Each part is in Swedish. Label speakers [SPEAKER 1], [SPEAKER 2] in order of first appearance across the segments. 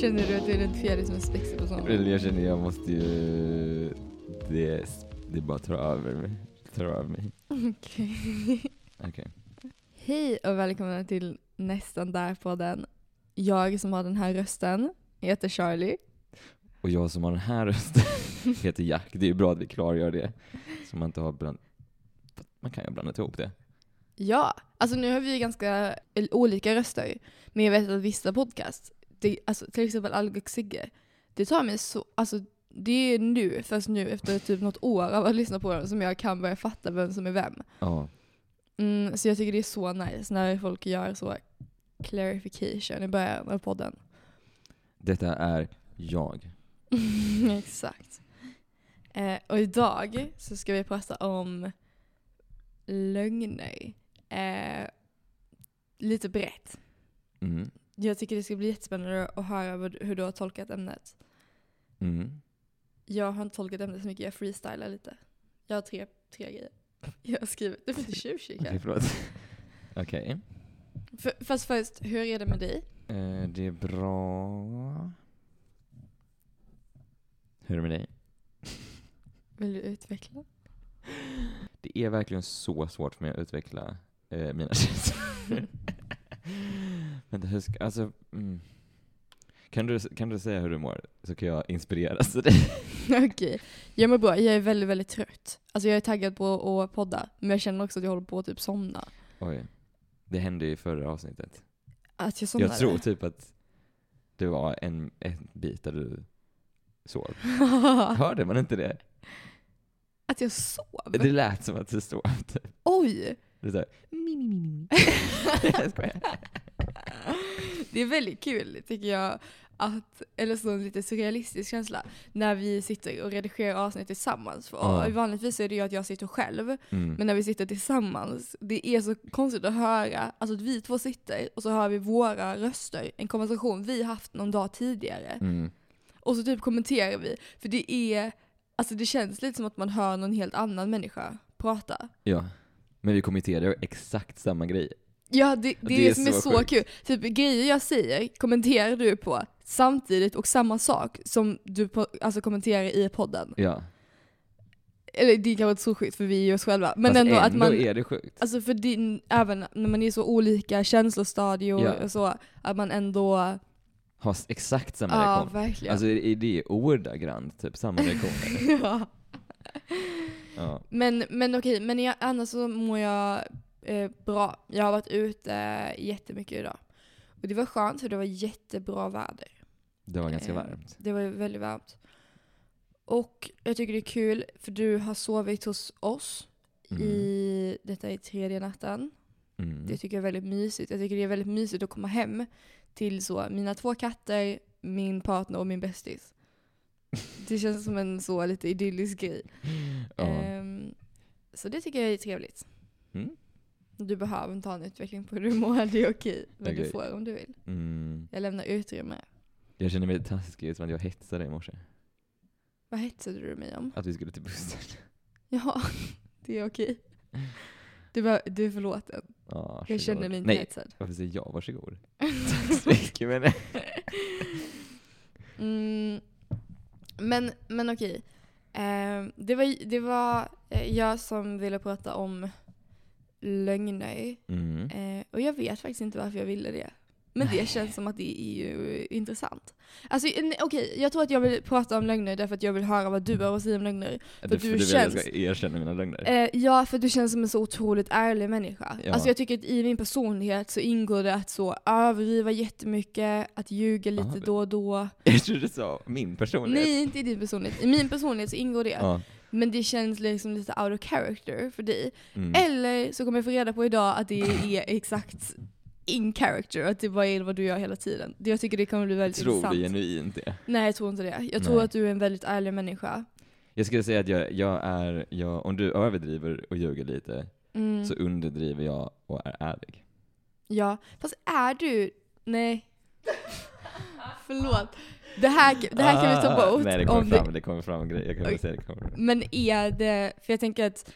[SPEAKER 1] Känner du att du är en fjäril som är spexig på sommaren?
[SPEAKER 2] Eller jag känner jag måste ju... Det, det bara tar över mig. Tar över mig.
[SPEAKER 1] Okej.
[SPEAKER 2] Okej.
[SPEAKER 1] Hej och välkomna till Nästan där på den. Jag som har den här rösten heter Charlie.
[SPEAKER 2] Och jag som har den här rösten heter Jack. Det är ju bra att vi klargör det. Så man inte har bland... Man kan ju ha blandat ihop det.
[SPEAKER 1] Ja, alltså nu har vi ju ganska el- olika röster. Men jag vet att vissa podcast, det, alltså till exempel Algo och Sigge, det tar mig så, alltså det är nu, först nu efter typ något år av att lyssna på dem som jag kan börja fatta vem som är vem.
[SPEAKER 2] Ja.
[SPEAKER 1] Mm, så jag tycker det är så nice när folk gör så clarification i början av podden.
[SPEAKER 2] Detta är jag.
[SPEAKER 1] Exakt. Eh, och idag så ska vi prata om lögner. Eh, lite brett.
[SPEAKER 2] Mm.
[SPEAKER 1] Jag tycker det ska bli jättespännande att höra vad, hur du har tolkat ämnet.
[SPEAKER 2] Mm.
[SPEAKER 1] Jag har inte tolkat ämnet så mycket, jag freestylar lite. Jag har tre, tre grejer. Jag har skrivit, du får inte
[SPEAKER 2] Okej,
[SPEAKER 1] tjuvkika.
[SPEAKER 2] förlåt. Okej.
[SPEAKER 1] F- Fast först, hur är det med dig?
[SPEAKER 2] Eh, det är bra. Hur är det med dig?
[SPEAKER 1] Vill du utveckla?
[SPEAKER 2] Det är verkligen så svårt för mig att utveckla eh, mina känslor. Vänta, hur ska, alltså, mm. kan, du, kan du säga hur du mår? Så kan jag inspireras av dig.
[SPEAKER 1] Okej, jag mår bra. Jag är väldigt, väldigt trött. Alltså jag är taggad på att podda, men jag känner också att jag håller på att typ somna.
[SPEAKER 2] Oj. Det hände i förra avsnittet.
[SPEAKER 1] Att jag somnade.
[SPEAKER 2] Jag tror typ att det var en, en bit där du sov. Hörde man inte det?
[SPEAKER 1] att jag sov?
[SPEAKER 2] Det lät som att du sov. Typ.
[SPEAKER 1] Oj!
[SPEAKER 2] Det är såhär, mi, mi, mi, mi, mi. Jag skojar.
[SPEAKER 1] Det är väldigt kul tycker jag. Att, eller så en lite surrealistisk känsla. När vi sitter och redigerar avsnitt tillsammans. För
[SPEAKER 2] Ja.
[SPEAKER 1] Vanligtvis är det ju att jag sitter själv.
[SPEAKER 2] Mm.
[SPEAKER 1] Men när vi sitter tillsammans, det är så konstigt att höra. Alltså att vi två sitter och så hör vi våra röster. En konversation vi haft någon dag tidigare.
[SPEAKER 2] Mm.
[SPEAKER 1] Och så typ kommenterar vi. För det är, alltså det känns lite som att man hör någon helt annan människa prata.
[SPEAKER 2] Ja. Men vi kommenterade exakt samma grej.
[SPEAKER 1] Ja, det, det, är det som är så
[SPEAKER 2] sjukt.
[SPEAKER 1] kul. Typ grejer jag säger kommenterar du på samtidigt och samma sak som du på, alltså, kommenterar i podden.
[SPEAKER 2] Ja.
[SPEAKER 1] Eller det är kanske inte så sjukt för vi är oss själva. Men
[SPEAKER 2] Fast
[SPEAKER 1] ändå, att man...
[SPEAKER 2] är det sjukt.
[SPEAKER 1] Alltså för din, även när man är så olika känslostadier
[SPEAKER 2] Ja.
[SPEAKER 1] och så, att man ändå...
[SPEAKER 2] har s- exakt samma
[SPEAKER 1] Ja,
[SPEAKER 2] reaktion.
[SPEAKER 1] verkligen.
[SPEAKER 2] Alltså är är det ordagrant typ samma reaktion?
[SPEAKER 1] ja.
[SPEAKER 2] ja.
[SPEAKER 1] Men, men okej, men jag, annars så mår jag eh, bra. Jag har varit ute eh, jättemycket idag. Och det var skönt för det var jättebra väder.
[SPEAKER 2] Det var ganska
[SPEAKER 1] Eh,
[SPEAKER 2] varmt.
[SPEAKER 1] Det var ju väldigt varmt. Och jag tycker det är kul för du har sovit hos oss
[SPEAKER 2] Mm.
[SPEAKER 1] i, detta är tredje natten.
[SPEAKER 2] Mm.
[SPEAKER 1] Det tycker jag är typ- väldigt mysigt. Jag tycker det är väldigt mysigt att komma hem till så, mina två katter, min partner och min bästis. Det känns som en så lite idyllisk grej.
[SPEAKER 2] Ja.
[SPEAKER 1] Ehm, så det tycker jag är trevligt.
[SPEAKER 2] Mm.
[SPEAKER 1] Du behöver inte ha en utveckling på hur du mår, det är okej. Men du
[SPEAKER 2] Okej.
[SPEAKER 1] får om du vill.
[SPEAKER 2] Mm.
[SPEAKER 1] Jag lämnar utrymme.
[SPEAKER 2] Jag känner mig taskig som att jag hetsade i morse.
[SPEAKER 1] Vad hetsade du mig om?
[SPEAKER 2] Att vi skulle till bussen.
[SPEAKER 1] Ja, det är okej. Du, bör, du är förlåten.
[SPEAKER 2] Ja,
[SPEAKER 1] Jag
[SPEAKER 2] varsågod.
[SPEAKER 1] känner mig inte
[SPEAKER 2] Ah,
[SPEAKER 1] Eh,
[SPEAKER 2] Nej,
[SPEAKER 1] hetsad.
[SPEAKER 2] varför säger jag varsågod? Tack så mycket men
[SPEAKER 1] Mm, men, men okej. Eh, det var, det var eh, jag som ville prata om lögner.
[SPEAKER 2] mm.
[SPEAKER 1] Eh, och jag vet faktiskt inte varför jag ville det. Men det känns som att det är ju intressant. Alltså en- okej, jag tror att jag vill prata om lögner därför att jag vill höra vad du har att säga om lögner.
[SPEAKER 2] För
[SPEAKER 1] du
[SPEAKER 2] du, vill att jag
[SPEAKER 1] känns-
[SPEAKER 2] ska erkänna mina lögner.
[SPEAKER 1] Eh, ja, för du känns som en så otroligt ärlig människa.
[SPEAKER 2] Ja.
[SPEAKER 1] Alltså jag tycker att i min personlighet så ingår det att så överdriva jättemycket, att ljuga lite
[SPEAKER 2] Aha.
[SPEAKER 1] då och då.
[SPEAKER 2] Jag trodde du sa min personlighet.
[SPEAKER 1] Nej, inte i din personlighet. I min personlighet så ingår det.
[SPEAKER 2] Ja.
[SPEAKER 1] Men det känns liksom lite out of character för dig.
[SPEAKER 2] Mm.
[SPEAKER 1] Eller så kommer jag få reda på idag att det är exakt in character, att det bara är vad du gör hela tiden. Det- Jag tycker det kommer bli väldigt
[SPEAKER 2] Tror
[SPEAKER 1] intressant.
[SPEAKER 2] du genuint det?
[SPEAKER 1] Nej, jag tror inte det. Jag tror
[SPEAKER 2] Nej.
[SPEAKER 1] att du är en väldigt ärlig människa.
[SPEAKER 2] Jag skulle säga att jag, jag är, jag, om du överdriver och ljuger lite,
[SPEAKER 1] Mm.
[SPEAKER 2] så underdriver jag och är ärlig.
[SPEAKER 1] Ja, fast är du... Nej. Förlåt. Det här, det här kan vi ta
[SPEAKER 2] Ah,
[SPEAKER 1] bort.
[SPEAKER 2] Nej,
[SPEAKER 1] om
[SPEAKER 2] det kommer
[SPEAKER 1] det-
[SPEAKER 2] fram, det kommer fram grejer. Jag kan
[SPEAKER 1] Okej.
[SPEAKER 2] väl säga det kommer fram.
[SPEAKER 1] Men är det... För jag tänker att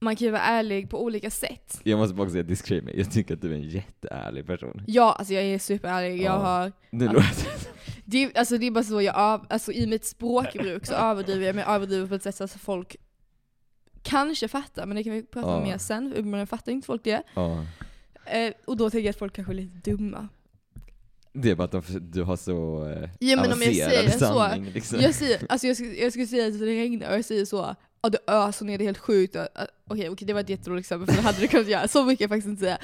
[SPEAKER 1] man kan ju vara ärlig på olika sätt.
[SPEAKER 2] Jag måste bara säga disclaimer, jag tycker att du är en jätteärlig person.
[SPEAKER 1] Ja, alltså jag är superärlig. Jag
[SPEAKER 2] Ja.
[SPEAKER 1] har,
[SPEAKER 2] Nu
[SPEAKER 1] Ja.
[SPEAKER 2] låter
[SPEAKER 1] det, är- alltså det är bara så jag, av, alltså i mitt språkbruk så överdriver jag, men jag överdriver på ett sätt så att folk kanske fattar, men det kan vi prata om
[SPEAKER 2] Ja.
[SPEAKER 1] mer sen, för uppenbarligen fattar inte folk det.
[SPEAKER 2] ja.
[SPEAKER 1] Eh, och då tänker jag att folk kanske är lite dumma.
[SPEAKER 2] Det är bara att de, förs- du har så eh,
[SPEAKER 1] Ja, men om jag
[SPEAKER 2] avancerad
[SPEAKER 1] säger så-
[SPEAKER 2] sanning, liksom.
[SPEAKER 1] Jag säger, alltså jag, skulle, jag skulle säga att det regnar och jag säger så, ja det öser ner, det är helt sjukt. Ja, ja, Okej, okej det var ett jätteroligt exempel för det hade du kunnat göra. Så mycket kan jag faktiskt inte säga.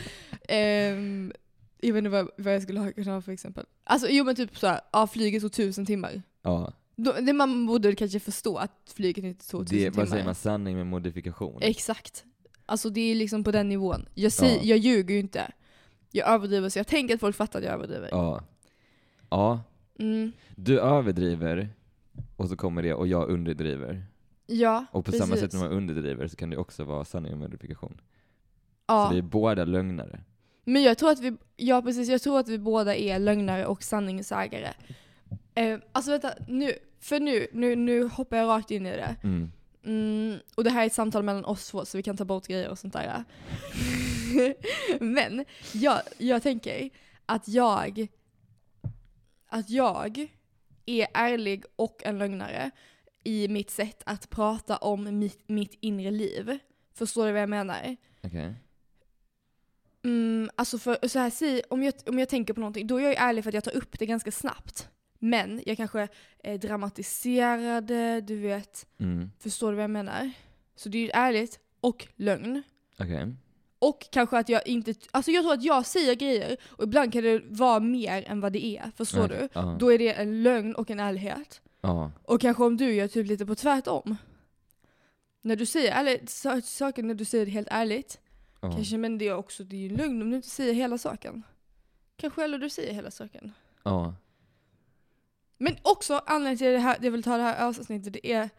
[SPEAKER 1] Ehm, jag vet inte vad, vad jag skulle ha kunnat ha för exempel. Alltså jo men typ såhär, ja flyget tog tusen timmar.
[SPEAKER 2] Ja.
[SPEAKER 1] Då, det man borde kanske förstå att flyget inte tog tusen
[SPEAKER 2] Det,
[SPEAKER 1] timmar.
[SPEAKER 2] vad säger man? Sanning med modifikation.
[SPEAKER 1] Exakt. Alltså det är liksom på den nivån. Jag, säger,
[SPEAKER 2] Ja.
[SPEAKER 1] jag ljuger ju inte. Jag överdriver så jag tänker att folk fattar att jag överdriver.
[SPEAKER 2] Ja. Ja.
[SPEAKER 1] Mm.
[SPEAKER 2] Du överdriver, och så kommer det, och jag underdriver.
[SPEAKER 1] Ja,
[SPEAKER 2] Och på samma
[SPEAKER 1] precis.
[SPEAKER 2] sätt när man underdriver så kan det också vara sanning med modifikation.
[SPEAKER 1] ja.
[SPEAKER 2] Så vi är båda lögnare.
[SPEAKER 1] Men jag tror att vi, ja precis, jag tror att vi båda är lögnare och sanningssägare. Eh, alltså vänta, nu, för nu, nu, nu hoppar jag rakt in i det.
[SPEAKER 2] Mm.
[SPEAKER 1] Mm, och det här är ett samtal mellan oss två så vi kan ta bort grejer och sånt där. Men jag, jag tänker att jag, att jag är ärlig och en lögnare i mitt sätt att prata om mitt, mitt inre liv. Förstår du vad jag menar?
[SPEAKER 2] Okej.
[SPEAKER 1] Mm, alltså för, så här, säg, om, jag, om jag tänker på någonting, då är jag ju ärlig för att jag tar upp det ganska snabbt. Men jag kanske eh, dramatiserade, du vet,
[SPEAKER 2] Mm.
[SPEAKER 1] förstår du vad jag menar? Så det är ju ärligt och lögn.
[SPEAKER 2] Okej.
[SPEAKER 1] Och kanske att jag inte, alltså jag tror att jag säger grejer och ibland kan det vara mer än vad det är, förstår
[SPEAKER 2] Okej.
[SPEAKER 1] du?
[SPEAKER 2] Ja.
[SPEAKER 1] Då är det en lögn och en ärlighet.
[SPEAKER 2] ja.
[SPEAKER 1] Och kanske om du gör typ lite på tvärtom. När du säger ärligt, sa- saker när du säger det helt ärligt,
[SPEAKER 2] ja.
[SPEAKER 1] Kanske, men det är också det är ju en lögn om du inte säger hela saken. Kanske eller du säger hela saken.
[SPEAKER 2] ja.
[SPEAKER 1] Men också anledningen till det här, jag vill ta det här avsnittet, det är...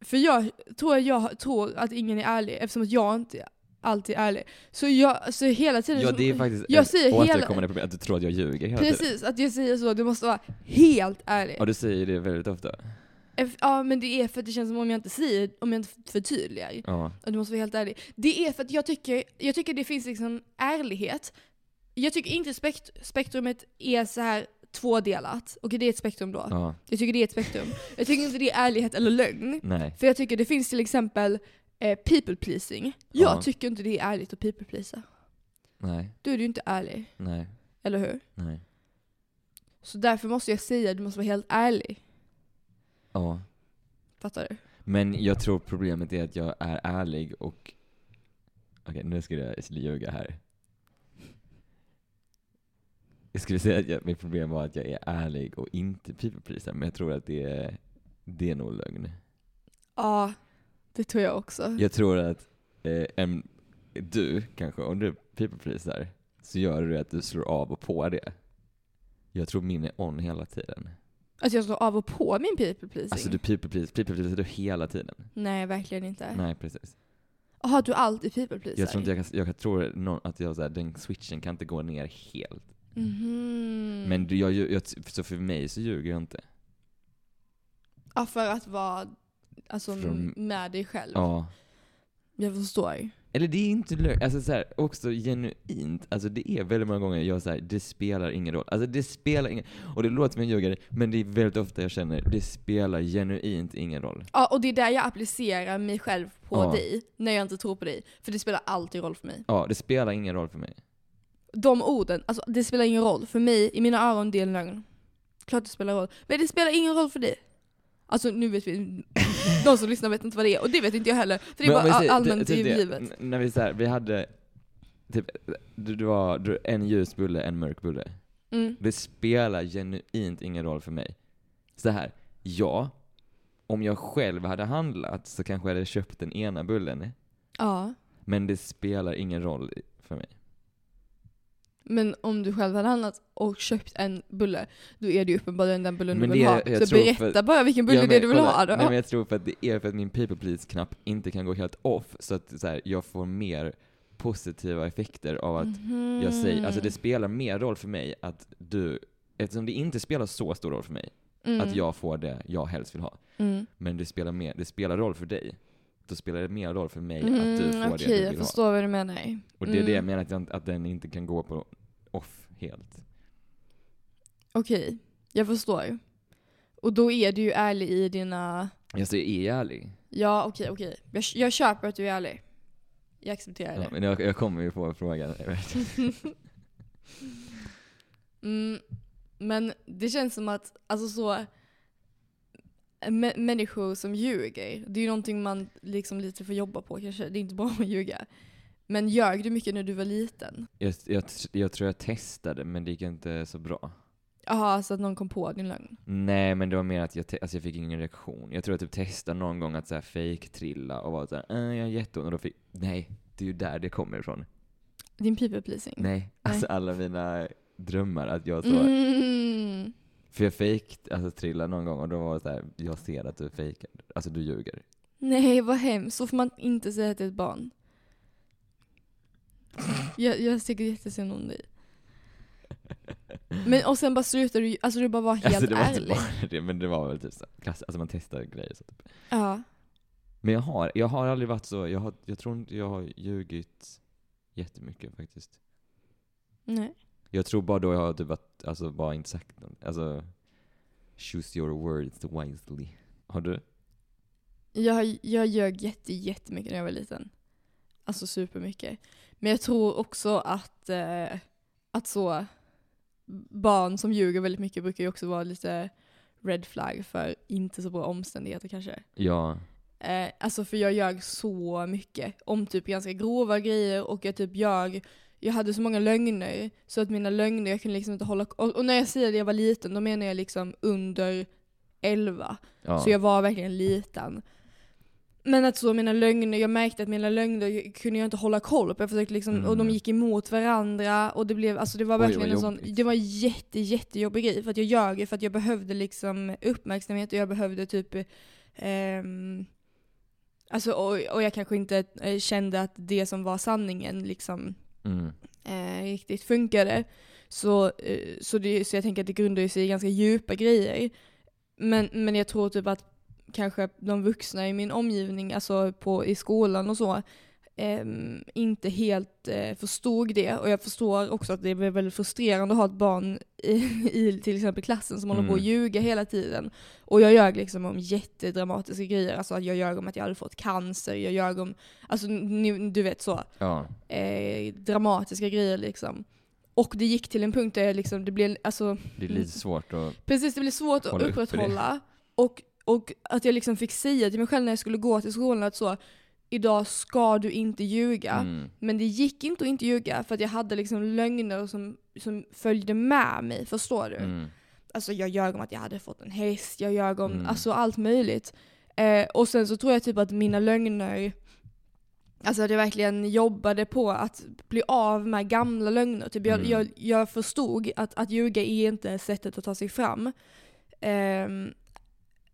[SPEAKER 1] För jag tror, jag tror att ingen är ärlig, eftersom att jag inte alltid är ärlig. Så jag, så hela tiden...
[SPEAKER 2] Ja
[SPEAKER 1] som-
[SPEAKER 2] det är faktiskt
[SPEAKER 1] Jag
[SPEAKER 2] ett
[SPEAKER 1] säger hela-
[SPEAKER 2] återkommande problem, att du tror att jag ljuger hela tiden.
[SPEAKER 1] precis, att jag säger så, du måste vara helt ärlig.
[SPEAKER 2] Ja du säger det väldigt ofta.
[SPEAKER 1] Eff- Ja men det är för att det känns som om jag inte säger, om jag inte förtydligar.
[SPEAKER 2] Ja.
[SPEAKER 1] Ja, Du måste vara helt ärlig. Det är för att jag tycker, jag tycker det finns liksom ärlighet. Jag tycker inte spekt, spektrumet är så här tvådelat. Okej, det är ett spektrum då.
[SPEAKER 2] ja.
[SPEAKER 1] Jag tycker det är ett spektrum. Jag tycker inte det är ärlighet eller lögn.
[SPEAKER 2] Nej.
[SPEAKER 1] För jag tycker det finns till exempel eh, people pleasing. Jag
[SPEAKER 2] Ja.
[SPEAKER 1] tycker inte det är ärligt att people pleasa.
[SPEAKER 2] Nej.
[SPEAKER 1] Då är du ju inte ärlig,
[SPEAKER 2] Nej.
[SPEAKER 1] eller hur?
[SPEAKER 2] Nej.
[SPEAKER 1] Så därför måste jag säga att du måste vara helt ärlig.
[SPEAKER 2] Ja.
[SPEAKER 1] Fattar du?
[SPEAKER 2] Men jag tror problemet är att jag är ärlig och... Okej, nu ska jag ljuga här. Jag skulle säga att jag, mitt problem var att jag är ärlig och inte people-pleaser, men jag tror att det är, det är nog lögn.
[SPEAKER 1] Ja, det tror jag också.
[SPEAKER 2] Jag tror att eh, en, du kanske, om du people-pleaser, så gör du att du slår av och på det. Jag tror min är on hela tiden.
[SPEAKER 1] Att jag slår av och på min people pleasing.
[SPEAKER 2] Alltså du people-pleaser people pleaser du hela tiden.
[SPEAKER 1] Nej, verkligen inte.
[SPEAKER 2] Nej, precis.
[SPEAKER 1] Jaha, du alltid people pleasar?
[SPEAKER 2] Jag tror inte jag kan, jag kan tro någon, att jag, så här, den switchen kan inte gå ner helt.
[SPEAKER 1] Mhm.
[SPEAKER 2] Men du, jag, jag, så för mig så ljuger jag inte.
[SPEAKER 1] Ja, för att vara alltså,
[SPEAKER 2] Från-
[SPEAKER 1] med dig själv.
[SPEAKER 2] Ja.
[SPEAKER 1] Jag förstår.
[SPEAKER 2] Eller det är inte lögn, alltså så här, också genuint, alltså det är väldigt många gånger jag säger det spelar ingen roll. Alltså det spelar ingen, och det låter som en ljugare, men det är väldigt ofta jag känner, det spelar genuint ingen roll.
[SPEAKER 1] Ja, och det är där jag applicerar mig själv på
[SPEAKER 2] Ja.
[SPEAKER 1] dig, när jag inte tror på dig. För det spelar alltid roll för mig.
[SPEAKER 2] Ja, det spelar ingen roll för mig.
[SPEAKER 1] De orden, alltså det spelar ingen roll. För mig, i mina öron, det är en lögn. Klart det spelar roll. Men det spelar ingen roll för dig. Alltså nu vet vi, de som lyssnar vet inte vad det är. Och det vet inte jag heller. För det är
[SPEAKER 2] Men om vi
[SPEAKER 1] bara
[SPEAKER 2] säger-
[SPEAKER 1] allmänt
[SPEAKER 2] typ det,
[SPEAKER 1] givet.
[SPEAKER 2] n- När vi så här, vi hade, typ, du, du var du, en ljus bulle, en mörk bulle.
[SPEAKER 1] Mm.
[SPEAKER 2] Det spelar genuint ingen roll för mig. Så här, ja, om jag själv hade handlat så kanske jag hade köpt den ena bullen.
[SPEAKER 1] Ja.
[SPEAKER 2] Men det spelar ingen roll i- för mig.
[SPEAKER 1] Men om du själv hade handlat och köpt en bulle, då är det ju uppenbarligen den bullen
[SPEAKER 2] Men
[SPEAKER 1] du vill
[SPEAKER 2] det-
[SPEAKER 1] ha.
[SPEAKER 2] jag
[SPEAKER 1] Så
[SPEAKER 2] tror
[SPEAKER 1] berätta
[SPEAKER 2] för-
[SPEAKER 1] bara vilken bulle det
[SPEAKER 2] Ja,
[SPEAKER 1] är
[SPEAKER 2] men
[SPEAKER 1] du vill
[SPEAKER 2] kolla,
[SPEAKER 1] ha då.
[SPEAKER 2] Nej, men jag tror för att det är för att min people please-knapp inte kan gå helt off, så att så här, jag får mer positiva effekter av att
[SPEAKER 1] Mm.
[SPEAKER 2] jag säger, alltså det spelar mer roll för mig att du, eftersom det inte spelar så stor roll för mig,
[SPEAKER 1] mm.
[SPEAKER 2] att jag får det jag helst vill ha.
[SPEAKER 1] Mm.
[SPEAKER 2] Men det spelar, mer, det spelar roll för dig. då spelar det mer roll för mig
[SPEAKER 1] Mm,
[SPEAKER 2] att du får
[SPEAKER 1] Okej,
[SPEAKER 2] det du
[SPEAKER 1] jag
[SPEAKER 2] vill ha.
[SPEAKER 1] förstår vad du menar.
[SPEAKER 2] Och det är det jag
[SPEAKER 1] Mm.
[SPEAKER 2] menar, att, jag, att den inte kan gå på off helt.
[SPEAKER 1] Okej, jag förstår. Och då är du ju ärlig i dina...
[SPEAKER 2] Alltså jag är ärlig.
[SPEAKER 1] Ja, okej, okej. Jag, jag köper att du är ärlig. Jag accepterar
[SPEAKER 2] Ja,
[SPEAKER 1] det.
[SPEAKER 2] men jag, jag kommer ju på frågan.
[SPEAKER 1] Mm, men det känns som att, alltså så... mä- Människor som ljuger, det är ju någonting man liksom lite får jobba på kanske. Det är inte bara att ljuga. Men ljög du mycket när du var liten?
[SPEAKER 2] jag, jag, jag tror jag testade, men det gick inte så bra.
[SPEAKER 1] Jaha, så att någon kom på din lögn?
[SPEAKER 2] Nej, men det var mer att jag, te- alltså jag fick ingen reaktion. Jag tror jag typ testade någon gång att så här fake trilla och var såhär äh, jag har jätteont och då fick, nej, det är ju där det kommer ifrån.
[SPEAKER 1] Din people pleasing?
[SPEAKER 2] Nej, alltså alla mina drömmar att jag så,
[SPEAKER 1] Mm.
[SPEAKER 2] för jag fake alltså trilla någon gång och då var det såhär, jag ser att du fejkar, alltså du ljuger.
[SPEAKER 1] Nej, vad hemskt. Så får man inte säga till ett barn. Jag, jag tycker jättesynd om dig. Men och sen bara slutar du, alltså du bara var helt
[SPEAKER 2] alltså det var
[SPEAKER 1] ärlig.
[SPEAKER 2] inte bara det, men det var väl typ så här, klass, alltså man testar grejer så typ.
[SPEAKER 1] Ja.
[SPEAKER 2] Men jag har, jag har aldrig varit så, jag, har, jag tror inte jag har ljugit jättemycket faktiskt.
[SPEAKER 1] Nej.
[SPEAKER 2] Jag tror bara då jag har typ varit, alltså bara inte sagt något. Alltså, choose your words wisely. Har du?
[SPEAKER 1] Jag, jag ljög jätte, jättemycket när jag var liten. Alltså supermycket. Men jag tror också att, eh, att så barn som ljuger väldigt mycket brukar ju också vara lite red flag för inte så bra omständigheter kanske.
[SPEAKER 2] Ja.
[SPEAKER 1] Eh, alltså för jag ljög så mycket om typ ganska grova grejer och jag typ ljög, jag hade så många lögner så att mina lögner, jag kunde liksom inte hålla och, och när jag säger att jag var liten då menar jag liksom under 11.
[SPEAKER 2] ja.
[SPEAKER 1] Så jag var verkligen liten. Men att så mina lögner, jag märkte att mina lögner kunde jag inte hålla koll på. Jag försökte liksom,
[SPEAKER 2] Mm.
[SPEAKER 1] och de gick emot varandra och det blev, alltså det var
[SPEAKER 2] Oj, vad
[SPEAKER 1] verkligen en sån,
[SPEAKER 2] jobbigt.
[SPEAKER 1] det var en jätte, jättejobbig grej. För att jag ljög ju för att jag behövde liksom uppmärksamhet och jag behövde typ ehm, Alltså, och, och jag kanske inte eh, kände att det som var sanningen liksom,
[SPEAKER 2] mm.
[SPEAKER 1] eh, riktigt funkade. Så, eh, så, det, så jag tänker att det grundar ju sig i ganska djupa grejer. Men, men jag tror typ att kanske de vuxna i min omgivning, alltså på, i skolan och så, ehm, inte helt eh, förstod det. Och jag förstår också att det är väldigt frustrerande att ha ett barn i, i till exempel klassen som håller på att
[SPEAKER 2] Mm.
[SPEAKER 1] ljuga hela tiden. Och jag ljög liksom om jättedramatiska grejer. Alltså att jag ljög om att jag hade fått cancer, jag ljög om, alltså ni, du vet så
[SPEAKER 2] Ja.
[SPEAKER 1] eh, dramatiska grejer liksom. Och det gick till en punkt där jag liksom, det blev, alltså,
[SPEAKER 2] Det är lite svårt att...
[SPEAKER 1] precis det blev svårt att
[SPEAKER 2] Hålla uppe det.
[SPEAKER 1] upprätthålla. Och, och att jag liksom fick säga till mig själv när jag skulle gå till skolan att så, idag ska du inte ljuga.
[SPEAKER 2] Mm.
[SPEAKER 1] Men det gick inte att inte ljuga för att jag hade liksom lögner som, som följde med mig, förstår du?
[SPEAKER 2] Mm.
[SPEAKER 1] Alltså jag ljög om att jag hade fått en häst, jag ljög om
[SPEAKER 2] Mm.
[SPEAKER 1] alltså, allt möjligt. Eh, och sen så tror jag typ att mina lögner, alltså att jag verkligen jobbade på att bli av med gamla lögner. Typ jag,
[SPEAKER 2] Mm.
[SPEAKER 1] jag, jag förstod att, att ljuga är inte sättet att ta sig fram. Ehm,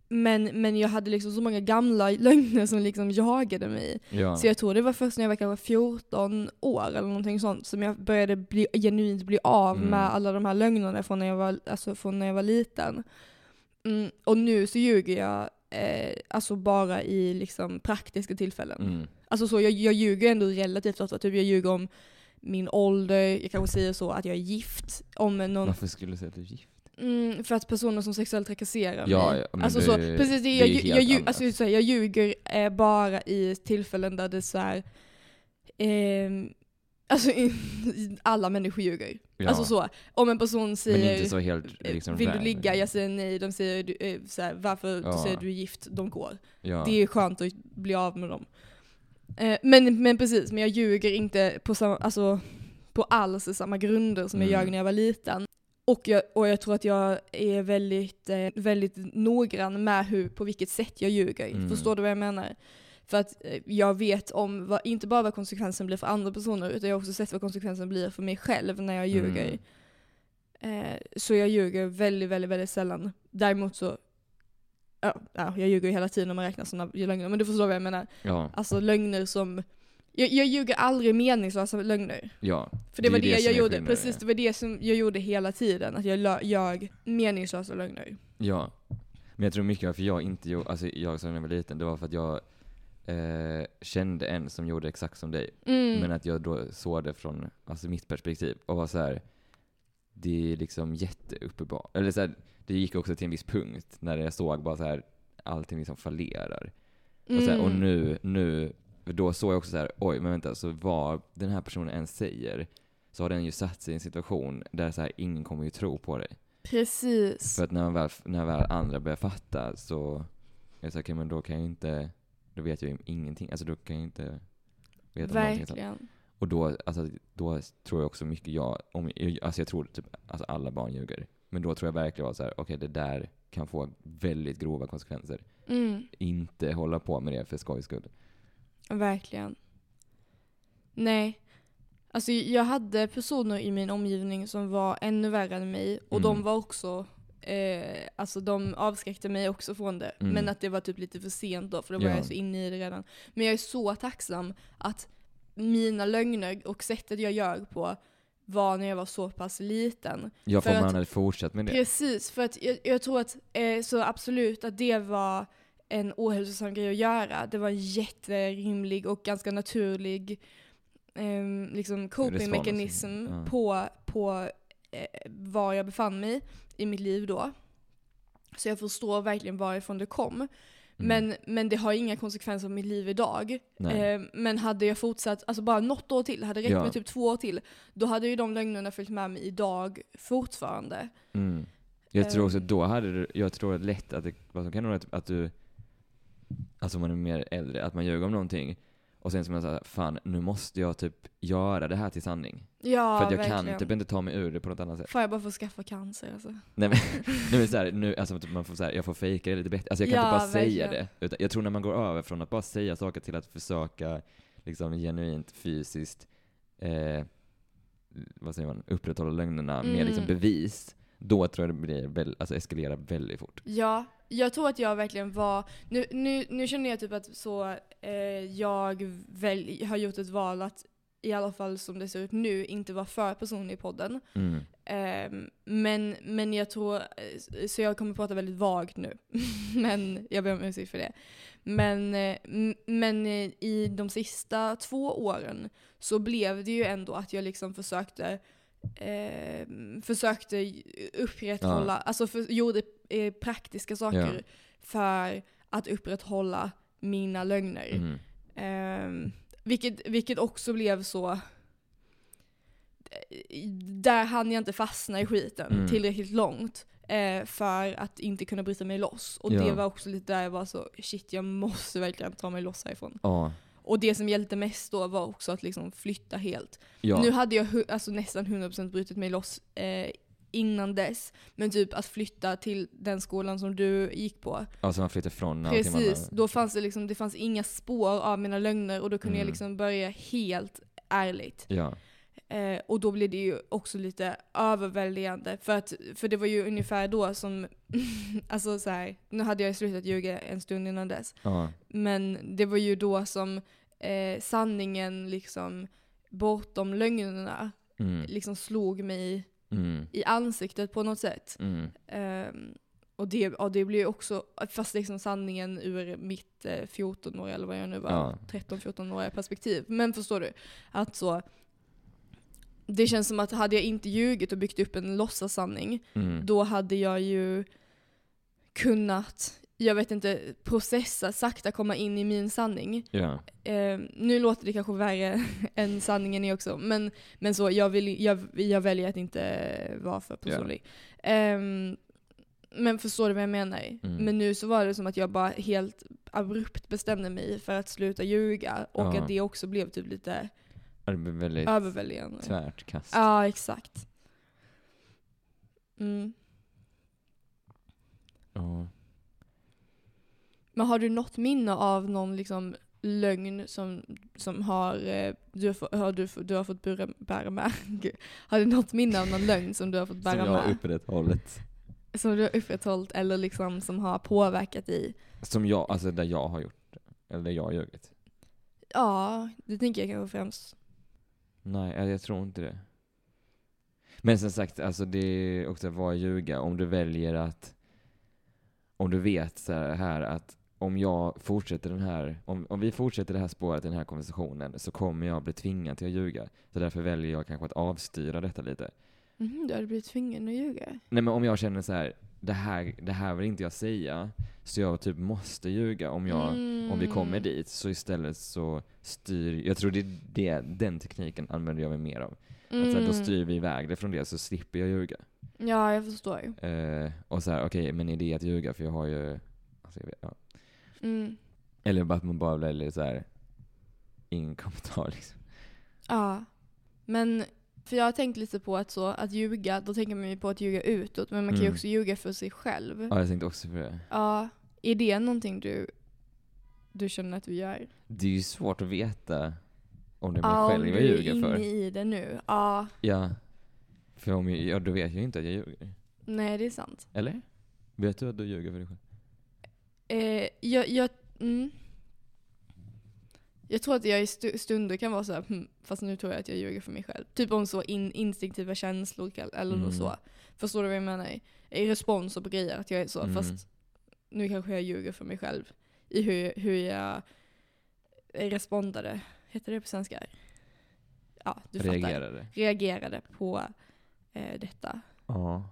[SPEAKER 1] men, men jag hade liksom så många gamla lögner som liksom jagade mig.
[SPEAKER 2] Ja.
[SPEAKER 1] Så jag tror det var först när jag var kanske 14 år eller någonting sånt som jag började bli, genuint bli av
[SPEAKER 2] Mm.
[SPEAKER 1] med alla de här lögnerna från när jag var, alltså från när jag var liten. Mm, och nu så ljuger jag eh, alltså bara i liksom praktiska tillfällen.
[SPEAKER 2] Mm.
[SPEAKER 1] Alltså så, jag, jag ljuger ändå relativt ofta. Typ jag ljuger om min ålder, jag kanske säger så att jag är gift. Om någon,
[SPEAKER 2] Varför skulle du säga att du är gift?
[SPEAKER 1] mm, för att personer som sexuellt trakasserar
[SPEAKER 2] Ja,
[SPEAKER 1] mig.
[SPEAKER 2] ja, men
[SPEAKER 1] alltså
[SPEAKER 2] det-
[SPEAKER 1] så, precis, det,
[SPEAKER 2] det
[SPEAKER 1] jag,
[SPEAKER 2] är ju
[SPEAKER 1] lju-
[SPEAKER 2] helt
[SPEAKER 1] jag, lju-
[SPEAKER 2] annat.
[SPEAKER 1] alltså, så här, jag ljuger eh, bara i tillfällen där det är så här, ehm, Alltså alla människor ljuger.
[SPEAKER 2] Ja.
[SPEAKER 1] Alltså så, om en person
[SPEAKER 2] Men
[SPEAKER 1] säger
[SPEAKER 2] inte så helt liksom
[SPEAKER 1] eh, vill du
[SPEAKER 2] random.
[SPEAKER 1] ligga? Jag säger nej. De säger du, eh, så här, varför? Du
[SPEAKER 2] Ja.
[SPEAKER 1] säger du är gift. De går.
[SPEAKER 2] Ja.
[SPEAKER 1] Det är skönt att bli av med dem. Eh, Men, men precis, men jag ljuger inte på, samma, alltså, på alls samma grunder som jag
[SPEAKER 2] Mm.
[SPEAKER 1] ljög när jag var liten. Och jag, och jag tror att jag är väldigt, eh, väldigt noggrann med hur, på vilket sätt jag ljuger.
[SPEAKER 2] Mm.
[SPEAKER 1] Förstår du vad jag menar? För att eh, jag vet om, vad, inte bara vad konsekvensen blir för andra personer, utan jag har också sett vad konsekvensen blir för mig själv när jag ljuger.
[SPEAKER 2] Mm.
[SPEAKER 1] Eh, så jag ljuger väldigt, väldigt, väldigt sällan. Däremot så, ja, ja, jag ljuger ju hela tiden om man räknar sådana lögner, men du förstår vad jag menar.
[SPEAKER 2] Ja.
[SPEAKER 1] Alltså lögner som, jag, jag ljuger aldrig meningslösa lögner.
[SPEAKER 2] Ja.
[SPEAKER 1] För det, var
[SPEAKER 2] är
[SPEAKER 1] det,
[SPEAKER 2] som
[SPEAKER 1] jag
[SPEAKER 2] är
[SPEAKER 1] gjorde,
[SPEAKER 2] skillnaden,
[SPEAKER 1] precis
[SPEAKER 2] ja.
[SPEAKER 1] det var det som jag gjorde hela tiden, att jag lö- ljög meningslösa lögner.
[SPEAKER 2] Ja. Men jag tror mycket varför jag inte gjorde, alltså jag som när jag var liten, det var för att jag eh, kände en som gjorde exakt som dig.
[SPEAKER 1] Mm.
[SPEAKER 2] Men att jag då såg det från alltså, mitt perspektiv och var så här. Det är liksom jätteuppenbart. Eller så här, det gick också till en viss punkt när jag såg bara så här allting liksom fallerar. Och, så här, alltså, och
[SPEAKER 1] Mm.
[SPEAKER 2] nu, nu, då såg jag också så här, oj men vänta, så vad den här personen än säger så har den ju satt sig i en situation där så här, ingen kommer ju tro på dig.
[SPEAKER 1] Mm. Precis.
[SPEAKER 2] För att när, väl, när väl andra börjar fatta så, jag sa okej men då kan jag ju inte, då vet jag ju ingenting. Alltså då kan jag ju inte veta någonting. sånt.
[SPEAKER 1] Verkligen.
[SPEAKER 2] Och då, alltså, då tror jag också mycket jag, om, alltså jag tror typ, alltså alla barn ljuger. Men då tror jag verkligen att så här, okej det där kan få väldigt grova konsekvenser.
[SPEAKER 1] Mm.
[SPEAKER 2] Inte hålla på med det för skojs skull.
[SPEAKER 1] Verkligen. Nej. Alltså jag hade personer i min omgivning som var ännu värre än mig och de
[SPEAKER 2] Mm.
[SPEAKER 1] var också Eh, alltså de avskräckte mig också från det.
[SPEAKER 2] Mm.
[SPEAKER 1] Men att det var typ lite för sent då för då var
[SPEAKER 2] Ja.
[SPEAKER 1] jag så inne i det redan. Men jag är så tacksam att mina lögner och sättet jag ljög på var när jag var så pass liten.
[SPEAKER 2] Jag
[SPEAKER 1] För
[SPEAKER 2] får man
[SPEAKER 1] att-
[SPEAKER 2] hade fortsatt med det.
[SPEAKER 1] Precis, för att jag, jag tror att eh, så absolut att det var en ohälsosam grej att göra. Det var en jätterimlig och ganska naturlig eh, liksom copingmekanism
[SPEAKER 2] Respons, mm. ja.
[SPEAKER 1] på, på eh, var jag befann mig i mitt liv då. Så jag förstår verkligen varifrån det kom.
[SPEAKER 2] Mm.
[SPEAKER 1] Men, men det har inga konsekvenser på mitt liv idag.
[SPEAKER 2] Nej.
[SPEAKER 1] Eh, men hade jag fortsatt, alltså bara något år till, hade det räckt
[SPEAKER 2] Ja.
[SPEAKER 1] med typ två år till, då hade ju de lögnerna följt med mig idag fortfarande.
[SPEAKER 2] Mm. Jag tror också
[SPEAKER 1] Ehm.
[SPEAKER 2] då hade du, jag tror lätt att det, vad som kan hända är att- att du, alltså om man är mer äldre, att man ljög om någonting och sen som man säger fan nu måste jag typ göra det här till sanning.
[SPEAKER 1] Ja,
[SPEAKER 2] för att jag
[SPEAKER 1] verkligen.
[SPEAKER 2] kan typ inte ta mig ur det på något annat sätt.
[SPEAKER 1] Fan jag bara får skaffa cancer alltså.
[SPEAKER 2] Nej men, nej, men så här, nu, alltså typ man får så här, jag får fejka det lite bättre. Alltså jag kan
[SPEAKER 1] Ja,
[SPEAKER 2] inte bara säga
[SPEAKER 1] verkligen.
[SPEAKER 2] det. Utan jag tror när man går över från att bara säga saker till att försöka liksom genuint fysiskt, eh, vad säger man, upprätthålla lögnerna med liksom
[SPEAKER 1] Mm.
[SPEAKER 2] bevis. Då tror jag det blir, väl, alltså eskalerar väldigt fort.
[SPEAKER 1] Ja, jag tror att jag verkligen var... Nu, nu, nu känner jag typ att så, eh, jag väl, har gjort ett val att i alla fall som det ser ut nu inte vara för personlig i podden.
[SPEAKER 2] Mm.
[SPEAKER 1] Ehm, men, men jag tror, eh, så jag kommer prata väldigt vagt nu. men jag ber om ursäkt för det. Men, eh, m- men eh, i de sista två åren så blev det ju ändå att jag liksom försökte eh, försökte upprätthålla, alltså för, gjorde eh, praktiska saker
[SPEAKER 2] Ja.
[SPEAKER 1] för att upprätthålla mina lögner.
[SPEAKER 2] Mm.
[SPEAKER 1] Ehm, vilket, vilket också blev så... Där hann jag inte fastna i skiten
[SPEAKER 2] Mm.
[SPEAKER 1] tillräckligt långt eh, för att inte kunna bryta mig loss. Och
[SPEAKER 2] Ja.
[SPEAKER 1] det var också lite där jag var så shit jag måste verkligen ta mig loss härifrån.
[SPEAKER 2] Ja.
[SPEAKER 1] Och det som hjälpte mest då var också att liksom flytta helt.
[SPEAKER 2] ja.
[SPEAKER 1] Nu hade jag hu- alltså nästan 100% brutit mig loss eh, innan dess. Men typ att flytta till den skolan som du gick på.
[SPEAKER 2] Alltså man flyttar från allting man
[SPEAKER 1] Precis,
[SPEAKER 2] har-
[SPEAKER 1] då fanns det liksom, det fanns inga spår av mina lögner och då kunde jag
[SPEAKER 2] Mm.
[SPEAKER 1] liksom börja helt ärligt.
[SPEAKER 2] Ja.
[SPEAKER 1] Eh, och då blev det ju också lite överväldigande för, att, för det var ju ungefär då som, alltså så här, nu hade jag slutat ljuga en stund innan dess,
[SPEAKER 2] ja.
[SPEAKER 1] men det var ju då som eh, sanningen liksom bortom lögnerna
[SPEAKER 2] Mm.
[SPEAKER 1] liksom slog mig
[SPEAKER 2] Mm.
[SPEAKER 1] i ansiktet på något sätt.
[SPEAKER 2] Mm.
[SPEAKER 1] Ehm, och det, ja, det blir ju också, fast liksom sanningen ur mitt eh, 14-åriga, eller vad jag nu var,
[SPEAKER 2] Ja.
[SPEAKER 1] 13-14-åriga perspektiv. Men förstår du? Att så, det känns som att hade jag inte ljugit och byggt upp en låtsasanning,
[SPEAKER 2] Mm.
[SPEAKER 1] då hade jag ju kunnat, jag vet inte, processa, sakta komma in i min sanning.
[SPEAKER 2] Ja.
[SPEAKER 1] Eh, nu låter det kanske värre än sanningen är också, men, men så, jag, vill, jag, jag väljer att inte vara för personlig. Ehm, men förstår du vad jag menar?
[SPEAKER 2] Mm.
[SPEAKER 1] Men nu så var det som att jag bara helt abrupt bestämde mig för att sluta ljuga och
[SPEAKER 2] Ja.
[SPEAKER 1] att det också blev typ lite
[SPEAKER 2] Ja, Det blir väldigt
[SPEAKER 1] överväldigande. Ja,
[SPEAKER 2] tvärt kast.
[SPEAKER 1] exakt. Mm.
[SPEAKER 2] Ja.
[SPEAKER 1] Men har du något minne av någon liksom lögn som, som har, eh, du, har, få- har du, f- du har fått bära, bära med? Gud. Har du något minne av någon lögn som du har fått
[SPEAKER 2] Som
[SPEAKER 1] bära
[SPEAKER 2] jag har
[SPEAKER 1] med?
[SPEAKER 2] upprätthållit.
[SPEAKER 1] Som du har upprätthållit eller liksom som har påverkat dig?
[SPEAKER 2] Som jag, alltså där jag har gjort det. Eller där jag har ljugit.
[SPEAKER 1] Ja, det tänker jag kanske främst.
[SPEAKER 2] Nej, eh, jag tror inte det. Men som sagt, alltså det är också vad ljuga. Om du väljer att... Om du vet så här, här att om jag fortsätter den här, om, om vi fortsätter det här spåret i den här konversationen så kommer jag bli tvingad till att ljuga. Så därför väljer jag kanske att avstyra detta lite.
[SPEAKER 1] Mhm, du hade blivit tvungen att ljuga.
[SPEAKER 2] Nej men om jag känner så här, det här, det här vill inte jag säga, så jag typ måste ljuga om jag om vi kommer
[SPEAKER 1] Mm.
[SPEAKER 2] dit. Så istället så styr, jag tror det är det, den tekniken använder jag mig mer av. Att så här, då
[SPEAKER 1] Mm.
[SPEAKER 2] styr vi iväg det från det så slipper jag ljuga.
[SPEAKER 1] Ja, jag förstår.
[SPEAKER 2] Eh, och så här, okej men är det att ljuga för jag har ju, alltså jag vet, ja.
[SPEAKER 1] Mm.
[SPEAKER 2] Eller bara att man bara väljer så här, ingen kommentar liksom.
[SPEAKER 1] Ja. Men, för jag har tänkt lite på att så, att ljuga, då tänker man ju på att ljuga utåt, men man kan ju
[SPEAKER 2] Mm.
[SPEAKER 1] också ljuga för sig själv.
[SPEAKER 2] Ja jag tänkte också på det.
[SPEAKER 1] Ja. Är det någonting du, du känner att du gör?
[SPEAKER 2] Det är ju svårt att veta om det är mig
[SPEAKER 1] Ja, om
[SPEAKER 2] själv jag
[SPEAKER 1] du är
[SPEAKER 2] ljuger
[SPEAKER 1] inne
[SPEAKER 2] för.
[SPEAKER 1] i det nu. Ja.
[SPEAKER 2] Ja. För om jag, ja, då vet jag ju inte att jag ljuger.
[SPEAKER 1] Nej, det är sant.
[SPEAKER 2] Eller? Vet du att du ljuger för dig själv?
[SPEAKER 1] Eh, jag, jag, mm. jag tror att jag i stu- stunder kan vara så här, "Hm, fast nu tror jag att jag ljuger för mig själv. Typ om så in, instinktiva känslor kan- eller
[SPEAKER 2] Mm.
[SPEAKER 1] så. Förstår du vad jag menar? I responser på grejer, att jag är så,
[SPEAKER 2] Mm.
[SPEAKER 1] fast nu kanske jag ljuger för mig själv. I hur, hur jag respondade, heter det på svenska? Ja, du fattar.
[SPEAKER 2] Reagerade?
[SPEAKER 1] Reagerade på eh, detta.
[SPEAKER 2] Ja.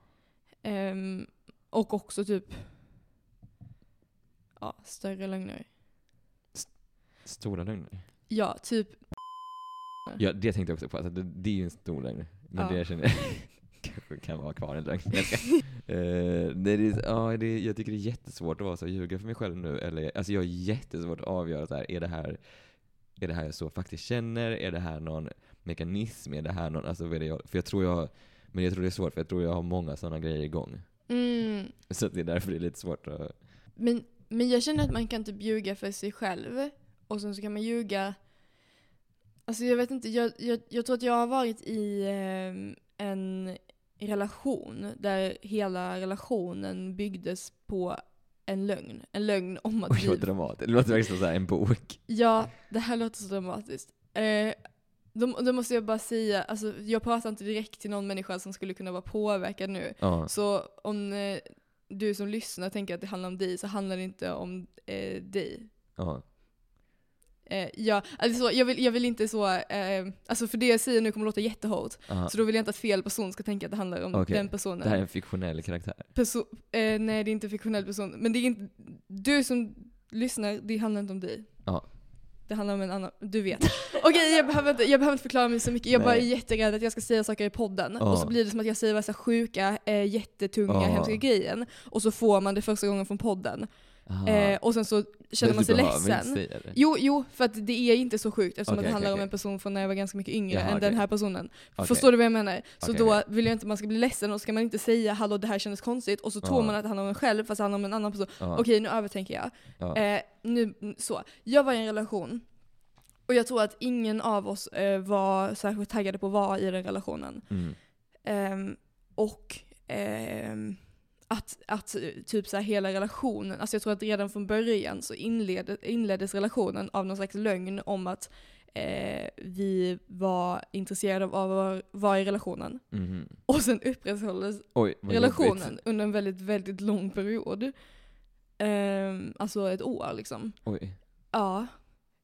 [SPEAKER 1] Ehm, och också typ ja, större lögner.
[SPEAKER 2] Stora lögner?
[SPEAKER 1] Ja, typ
[SPEAKER 2] Ja, det tänkte jag också på. Alltså, det, det är ju en stor lögn. Men
[SPEAKER 1] Ja.
[SPEAKER 2] det känner jag kanske kan vara kvar en lögn. Jag ska- Eh, nej, det, är- ja, det, jag tycker det är jättesvårt att vara så här, ljuga för mig själv nu. Eller, alltså, jag har jättesvårt att avgöra så här, är det här, är det här jag så faktiskt känner? Är det här någon mekanism? Är det här någon, alltså, vad är det jag, för jag tror jag, men jag tror det är svårt för jag tror jag har många sådana grejer igång.
[SPEAKER 1] mm,
[SPEAKER 2] Så att det är därför det är lite svårt att...
[SPEAKER 1] men, men jag känner att man kan typ ljuga för sig själv och sen så kan man ljuga Alltså jag vet inte, jag, jag, jag tror att jag har varit i ehm, en relation där hela relationen byggdes på en lögn. En lögn om att
[SPEAKER 2] Oj,
[SPEAKER 1] vi
[SPEAKER 2] vad dramatiskt. Det låter verkligen som så här en bok.
[SPEAKER 1] Ja, det här låter så dramatiskt. Eh, då, då måste jag bara säga, alltså, jag pratar inte direkt till någon människa som skulle kunna vara påverkad nu.
[SPEAKER 2] Ja.
[SPEAKER 1] Så om eh, du som lyssnar tänker att det handlar om dig så handlar det inte om eh, dig.
[SPEAKER 2] ja.
[SPEAKER 1] Eh, ja, alltså, jag, vill, jag vill inte så, eh, alltså för det jag säger nu kommer låta jättehårt.
[SPEAKER 2] ja.
[SPEAKER 1] Så då vill jag inte att fel person ska tänka att det handlar om
[SPEAKER 2] Okej.
[SPEAKER 1] den personen.
[SPEAKER 2] Det här är en fiktionell karaktär.
[SPEAKER 1] Perso- eh, nej, det är inte en fiktionell person. Men det är inte, du som lyssnar, det handlar inte om dig.
[SPEAKER 2] Ja.
[SPEAKER 1] Det handlar om en annan, du vet. Okej, jag, behöver inte, jag behöver inte förklara mig så mycket. Jag bara är
[SPEAKER 2] Nej.
[SPEAKER 1] jätterädd att jag ska säga saker i podden.
[SPEAKER 2] Ja.
[SPEAKER 1] Och så blir det som att jag säger massa sjuka, eh, jättetunga,
[SPEAKER 2] Ja.
[SPEAKER 1] hemska grejen. Och så får man det första gången från podden.
[SPEAKER 2] Aha.
[SPEAKER 1] Eh, och sen så känner
[SPEAKER 2] Men
[SPEAKER 1] man
[SPEAKER 2] du
[SPEAKER 1] sig
[SPEAKER 2] behöver inte
[SPEAKER 1] ledsen.
[SPEAKER 2] säga det.
[SPEAKER 1] Jo, jo, för att det är inte så sjukt eftersom
[SPEAKER 2] Okej,
[SPEAKER 1] att det
[SPEAKER 2] okej,
[SPEAKER 1] handlar om
[SPEAKER 2] okej.
[SPEAKER 1] en person från när jag var ganska mycket yngre
[SPEAKER 2] Jaha,
[SPEAKER 1] än den
[SPEAKER 2] okej.
[SPEAKER 1] här personen.
[SPEAKER 2] Okej.
[SPEAKER 1] Förstår du vad jag menar? Så
[SPEAKER 2] Okej,
[SPEAKER 1] då
[SPEAKER 2] okej.
[SPEAKER 1] vill jag inte att man ska bli ledsen och ska man inte säga hallå det här kändes konstigt och så tror
[SPEAKER 2] Ja.
[SPEAKER 1] man att det handlar om en själv fast det handlar om en annan person.
[SPEAKER 2] Ja.
[SPEAKER 1] Okej nu övertänker jag.
[SPEAKER 2] Ja.
[SPEAKER 1] Eh, nu, mm, så. Jag var i en relation och jag tror att ingen av oss eh, var särskilt taggade på att vara i den relationen.
[SPEAKER 2] Mm.
[SPEAKER 1] Ehm, och ehm, att, att eh, typ så här hela relationen, alltså jag tror att redan från början så inled, inleddes relationen av någon slags lögn om att eh, vi var intresserade av att vara- vara i relationen.
[SPEAKER 2] Mhm.
[SPEAKER 1] Och sen upprätthålles
[SPEAKER 2] Oj, vad
[SPEAKER 1] relationen
[SPEAKER 2] jobbigt.
[SPEAKER 1] under en väldigt, väldigt lång period. Ehm, alltså ett år liksom.
[SPEAKER 2] Oj,
[SPEAKER 1] Ja,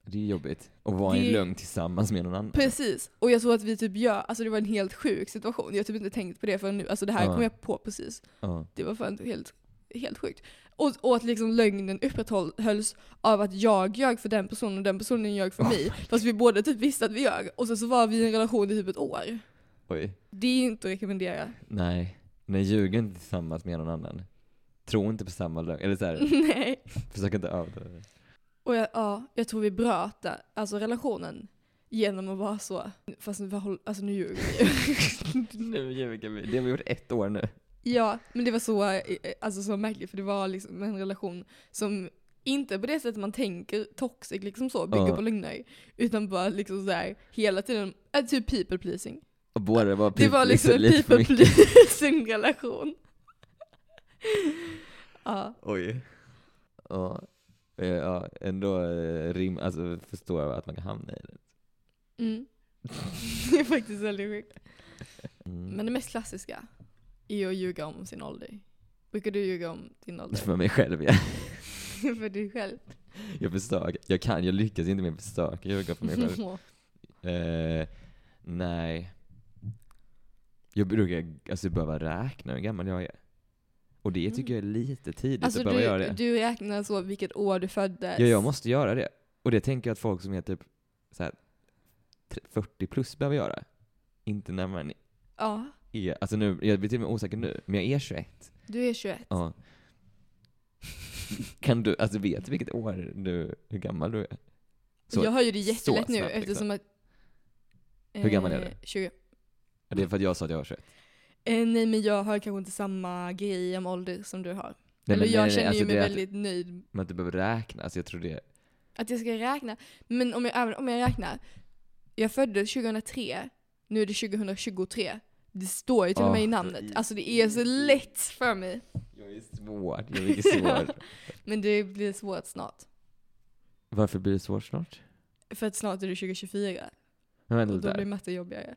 [SPEAKER 2] det är jobbigt. Att vara i
[SPEAKER 1] Det-
[SPEAKER 2] en lögn tillsammans med någon annan.
[SPEAKER 1] precis. Och jag tror att vi typ gör, alltså det var en helt sjuk situation. Jag har typ inte tänkt på det förrän nu. Alltså det här
[SPEAKER 2] Ja.
[SPEAKER 1] kom jag på precis.
[SPEAKER 2] Ja.
[SPEAKER 1] Det var fan helt, helt sjukt. Och, och att liksom lögnen upprätthölls av att jag ljög för den personen och den personen ljög för
[SPEAKER 2] Oh
[SPEAKER 1] mig. Fast vi båda typ visste att vi ljög. Och sen så var vi i en relation i typ ett år.
[SPEAKER 2] Oj.
[SPEAKER 1] Det är inte att rekommendera.
[SPEAKER 2] Nej. Nej, ljug inte tillsammans med någon annan. Tro inte på samma lögn. Eller så här,
[SPEAKER 1] Nej.
[SPEAKER 2] försök inte överdriva det.
[SPEAKER 1] Och jag, ja, jag tror vi bröt det, alltså relationen genom att vara så. Fast nu, vad håll- alltså nu ljuger vi.
[SPEAKER 2] Nu ljuger vi. Det har vi gjort ett år nu.
[SPEAKER 1] ja, men det var så, eh, alltså så märkligt för det var liksom en relation som inte på det sättet man tänker toxic liksom så, bygger
[SPEAKER 2] Ja.
[SPEAKER 1] på lögner. Utan bara liksom så här hela tiden, äh, typ people pleasing.
[SPEAKER 2] Och båda var
[SPEAKER 1] Det var liksom en
[SPEAKER 2] lite för
[SPEAKER 1] people
[SPEAKER 2] mycket.
[SPEAKER 1] pleasing relation. ja.
[SPEAKER 2] Oj. Ja. Eh, Ja, ändå eh, rim, alltså förstår jag att man kan hamna i det.
[SPEAKER 1] Mm. det är faktiskt väldigt sjukt.
[SPEAKER 2] Mm.
[SPEAKER 1] Men det mest klassiska är att ljuga om sin ålder. Brukar du ljuga om din ålder?
[SPEAKER 2] För mig själv ja.
[SPEAKER 1] för dig själv.
[SPEAKER 2] Jag försöker. Jag kan, jag lyckas inte med att försöka ljuga för mig själv. Eh, nej. Jag brukar alltså behöva räkna hur gammal jag är. Och det tycker jag är lite tidigt
[SPEAKER 1] alltså
[SPEAKER 2] att behöva göra
[SPEAKER 1] du,
[SPEAKER 2] det.
[SPEAKER 1] du räknar så vilket år du föddes.
[SPEAKER 2] Ja, jag måste göra det. Och det tänker jag att folk som är typ så här, tre- 40 plus behöver göra. Inte när man
[SPEAKER 1] Ja,
[SPEAKER 2] är, alltså nu, jag blir till och med osäker nu, men jag är 21.
[SPEAKER 1] du är 21.
[SPEAKER 2] Ja. Kan du, alltså vet du vilket år du, hur gammal du är? Så-
[SPEAKER 1] jag har ju det
[SPEAKER 2] så
[SPEAKER 1] jättelätt nu
[SPEAKER 2] snabbt, liksom.
[SPEAKER 1] eftersom att... eh,
[SPEAKER 2] Hur gammal är du?
[SPEAKER 1] 20.
[SPEAKER 2] Ja, Det är för att jag sa att jag var 21.
[SPEAKER 1] Eh, nej men jag har kanske inte samma grej om ålder som du har.
[SPEAKER 2] Nej,
[SPEAKER 1] Eller
[SPEAKER 2] men
[SPEAKER 1] jag
[SPEAKER 2] nej, nej,
[SPEAKER 1] känner
[SPEAKER 2] alltså
[SPEAKER 1] ju mig
[SPEAKER 2] det är att-
[SPEAKER 1] väldigt nöjd
[SPEAKER 2] Men att du behöver räkna, alltså jag tror det,
[SPEAKER 1] att jag ska räkna. Men om jag, även om jag räknar. Jag föddes 2003, nu är det 2023. Det står ju till och med
[SPEAKER 2] Ah,
[SPEAKER 1] i
[SPEAKER 2] i-
[SPEAKER 1] namnet. Alltså det är så lätt för mig.
[SPEAKER 2] jag är svår, jag är mycket svår.
[SPEAKER 1] Men det blir svårt snart.
[SPEAKER 2] Varför blir det svårt snart?
[SPEAKER 1] För att snart är det 2024
[SPEAKER 2] Men vänta
[SPEAKER 1] och
[SPEAKER 2] lite
[SPEAKER 1] då blir
[SPEAKER 2] där.
[SPEAKER 1] matte jobbigare.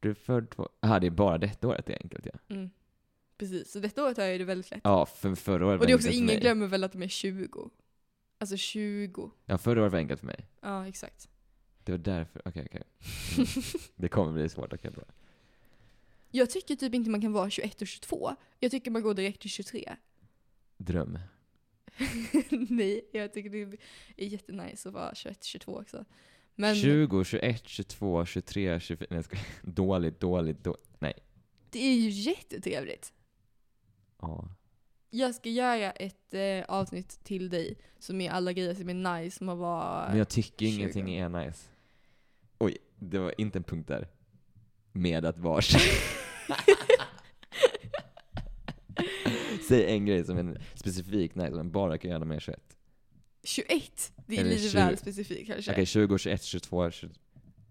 [SPEAKER 2] Du är född två... Aha, det är bara detta året det är enkelt ja.
[SPEAKER 1] Mm. Precis, så detta året har jag ju det väldigt lätt.
[SPEAKER 2] Ja, för förra året
[SPEAKER 1] och det är
[SPEAKER 2] var
[SPEAKER 1] också,
[SPEAKER 2] enkelt för
[SPEAKER 1] ingen
[SPEAKER 2] mig.
[SPEAKER 1] glömmer väl att de är 20. Alltså 20.
[SPEAKER 2] Ja, förra året var enkelt för mig.
[SPEAKER 1] Ja, exakt.
[SPEAKER 2] Det var därför, okej okej. Mm. det kommer bli svårt, okej bra.
[SPEAKER 1] Jag tycker typ inte man kan vara 21 och 22. Jag tycker man går direkt till 23.
[SPEAKER 2] Dröm.
[SPEAKER 1] Nej, jag tycker det är jättenice att vara 21-22 också. Men
[SPEAKER 2] 20, 21, 22, 23, 24, nej jag skojar. Dåligt, dåligt, dåligt.
[SPEAKER 1] det är ju jättetrevligt.
[SPEAKER 2] Ja.
[SPEAKER 1] Jag ska göra ett eh, avsnitt till dig som är alla grejer som är nice som att vara...
[SPEAKER 2] Men jag
[SPEAKER 1] 20.
[SPEAKER 2] tycker ingenting är nice. Oj, det var inte en punkt där. Med att vara Säg en grej som är specifikt nice, men bara kan göra när man är 21.
[SPEAKER 1] 21! Det är
[SPEAKER 2] Eller
[SPEAKER 1] lite
[SPEAKER 2] 20.
[SPEAKER 1] väl specifikt kanske.
[SPEAKER 2] Okej, 20, 21, 22,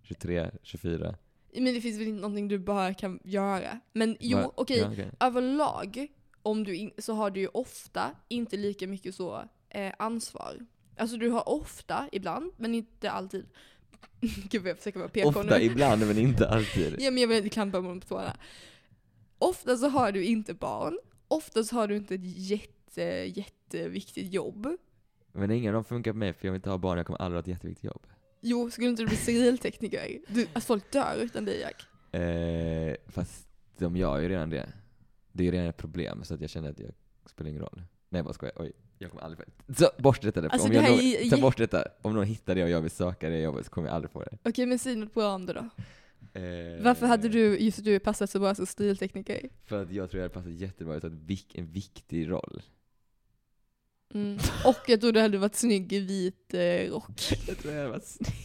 [SPEAKER 2] 23, 24.
[SPEAKER 1] Men det finns väl inte någonting du bara kan göra. Men jo,
[SPEAKER 2] Va-
[SPEAKER 1] okej.
[SPEAKER 2] Ja, okej.
[SPEAKER 1] Överlag om du in, så har du ju ofta inte lika mycket så eh, ansvar. Alltså du har ofta, ibland, men inte alltid. Gud vad jag försöker vara PK nu.
[SPEAKER 2] Ofta, ibland, men inte alltid.
[SPEAKER 1] Ja men jag vill inte klampa mig på tårna. Ofta så har du inte barn. Ofta så har du inte ett jätte, jätteviktigt jobb.
[SPEAKER 2] Men ingen av dem funkar på mig för jag vill inte ha barn, jag kommer aldrig ha ett jätteviktigt jobb.
[SPEAKER 1] Jo, skulle inte du bli civiltekniker? Du, alltså folk dör utan dig Jack.
[SPEAKER 2] Eh, fast de gör ju redan det. Det är ju redan ett problem, så att jag känner att jag spelar ingen roll. Nej, jag bara skojar. Oj, jag kommer aldrig få det. Så, bort detta därifrån.
[SPEAKER 1] Alltså,
[SPEAKER 2] om
[SPEAKER 1] det
[SPEAKER 2] jag
[SPEAKER 1] här
[SPEAKER 2] någon,
[SPEAKER 1] är-
[SPEAKER 2] Ta bort detta. Om någon hittar det och jag vill söka det jobbet så kommer jag aldrig få det.
[SPEAKER 1] Okej men säg något bra om det då.
[SPEAKER 2] Eh,
[SPEAKER 1] Varför hade du, just att du passat så bra som stiltekniker?
[SPEAKER 2] För att jag tror jag hade passat jättebra ut att vik- en viktig roll.
[SPEAKER 1] Mm. Och jag tror du hade varit snygg i vit eh, rock.
[SPEAKER 2] Jag tror jag hade varit snygg.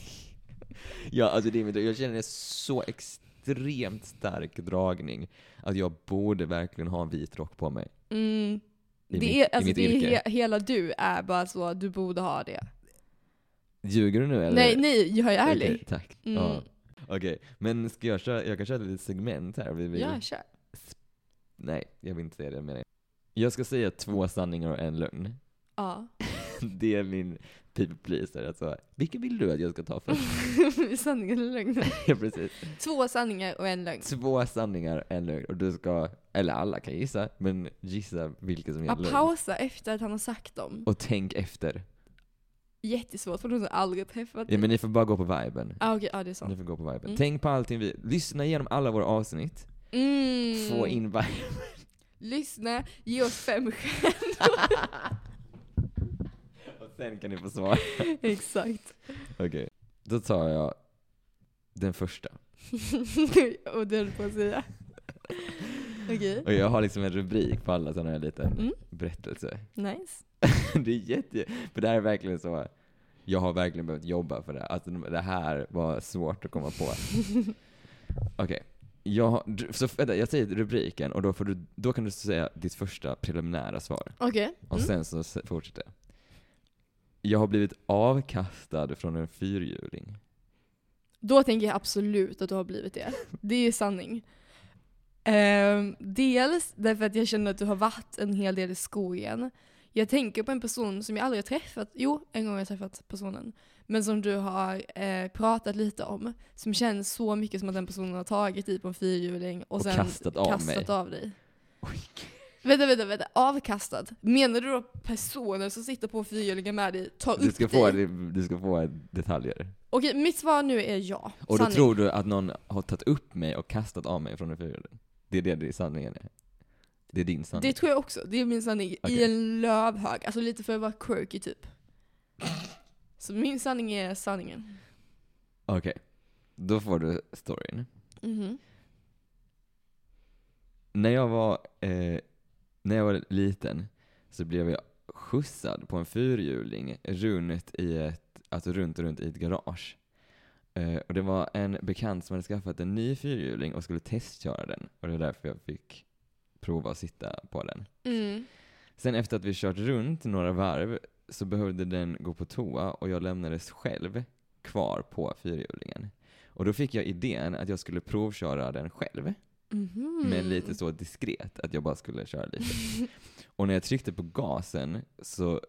[SPEAKER 2] Ja, alltså det är mitt, jag känner en så extremt stark dragning att jag borde verkligen ha en vit rock på mig.
[SPEAKER 1] Mm. Det
[SPEAKER 2] I mitt-
[SPEAKER 1] är,
[SPEAKER 2] i
[SPEAKER 1] alltså,
[SPEAKER 2] mitt
[SPEAKER 1] det är
[SPEAKER 2] yrke.
[SPEAKER 1] he, hela du är bara så, du borde ha det.
[SPEAKER 2] Ljuger du nu eller?
[SPEAKER 1] Nej, nej, jag är ärlig.
[SPEAKER 2] Okej, tack.
[SPEAKER 1] Mm.
[SPEAKER 2] Ja. Okej, men ska jag köra, jag kan köra ett litet segment här. Vi, vi,
[SPEAKER 1] Ja, kör.
[SPEAKER 2] Nej, jag vill inte säga det med dig. Jag ska säga två sanningar och en lögn.
[SPEAKER 1] Ja.
[SPEAKER 2] Det är min people pleaser. Alltså, vilken vill du att jag ska ta först?
[SPEAKER 1] Sanningen eller lögnen?
[SPEAKER 2] Ja, Precis.
[SPEAKER 1] Två sanningar och en lögn.
[SPEAKER 2] Två sanningar och en lögn. Och du ska, eller alla kan gissa, men gissa vilken som är en
[SPEAKER 1] Att
[SPEAKER 2] lögn.
[SPEAKER 1] pausa efter att han har sagt dem.
[SPEAKER 2] Och tänk efter.
[SPEAKER 1] Jättesvårt för de som aldrig träffat
[SPEAKER 2] Ja, men ni får bara gå på viben.
[SPEAKER 1] Ah, okej, ja det är sant.
[SPEAKER 2] Ni får gå på viben.
[SPEAKER 1] Mm.
[SPEAKER 2] Tänk på allting vi... Lyssna igenom alla våra avsnitt.
[SPEAKER 1] Mm.
[SPEAKER 2] Få in viben.
[SPEAKER 1] Lyssna, ge oss fem stjärnor.
[SPEAKER 2] och sen kan ni få svar.
[SPEAKER 1] Exakt.
[SPEAKER 2] Okej. Då tar jag den första.
[SPEAKER 1] och det höll på att säga. Okej,
[SPEAKER 2] Och jag har liksom en rubrik på alla sådana här liten
[SPEAKER 1] Mm.
[SPEAKER 2] berättelse.
[SPEAKER 1] nice.
[SPEAKER 2] det är jätte... För det här är verkligen så... Jag har verkligen behövt jobba för det. Alltså det här var svårt att komma på. Okej. Jag, har- du- så vänta, jag säger rubriken och då, får du, då kan du säga ditt första preliminära svar.
[SPEAKER 1] Okej.
[SPEAKER 2] Och sen så se- fortsätter jag. Jag har blivit avkastad från en fyrhjuling.
[SPEAKER 1] Då tänker jag absolut att du har blivit det. Det är sanning. Ehm, dels därför att jag känner att du har varit en hel del i skogen. Jag tänker på en person som jag aldrig har träffat. Jo, en gång har jag träffat personen. Men som du har eh, pratat lite om. Som känns så mycket som att den personen har tagit i på en fyrhjuling och,
[SPEAKER 2] Och
[SPEAKER 1] sen
[SPEAKER 2] kastat av mig.
[SPEAKER 1] kastat av dig. Vänta, vänta, vänta. Avkastad? Menar du då personen som sitter på en fyrhjuling med dig tar
[SPEAKER 2] Du
[SPEAKER 1] upp
[SPEAKER 2] ska
[SPEAKER 1] dig?
[SPEAKER 2] få, du ska få detaljer.
[SPEAKER 1] Okej, mitt svar nu är ja.
[SPEAKER 2] Och då
[SPEAKER 1] Sanning.
[SPEAKER 2] tror du att någon har tagit upp mig och kastat av mig från en fyrhjuling? Det är det, det är sanningen är. Det är din sanning.
[SPEAKER 1] Det tror jag också. Det är min sanning. I
[SPEAKER 2] Okej.
[SPEAKER 1] en lövhög. Alltså lite för att vara quirky typ. Så min sanning är sanningen.
[SPEAKER 2] Okej. Då får du storyn.
[SPEAKER 1] Mhm.
[SPEAKER 2] När jag var, eh, när jag var liten så blev jag skjutsad på en fyrhjuling runt, i ett, alltså runt, runt i ett garage. Eh, och det var en bekant som hade skaffat en ny fyrhjuling och skulle testköra den. Och det var därför jag fick prova att sitta på den.
[SPEAKER 1] Mm.
[SPEAKER 2] Sen efter att vi kört runt några varv så behövde den gå på toa och jag lämnades själv kvar på fyrhjulingen. Och då fick jag idén att jag skulle provköra den själv,
[SPEAKER 1] Mhm.
[SPEAKER 2] men lite så diskret, att jag bara skulle köra lite. Och när jag tryckte på gasen så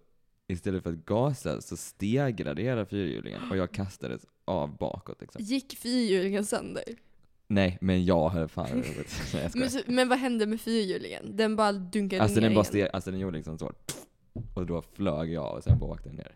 [SPEAKER 2] istället för att gasa så stegrade hela fyrhjulingen och jag kastades av bakåt liksom.
[SPEAKER 1] Gick fyrhjulingen sönder?
[SPEAKER 2] Nej, men jag höll fan roligt. Nej, jag skojar.
[SPEAKER 1] Men, så, men vad hände med fyrhjulingen? Den bara dunkade
[SPEAKER 2] Alltså
[SPEAKER 1] ner
[SPEAKER 2] den bara
[SPEAKER 1] igen.
[SPEAKER 2] steg, alltså den gjorde liksom så. Och då flög jag och sen bara åkte den ner.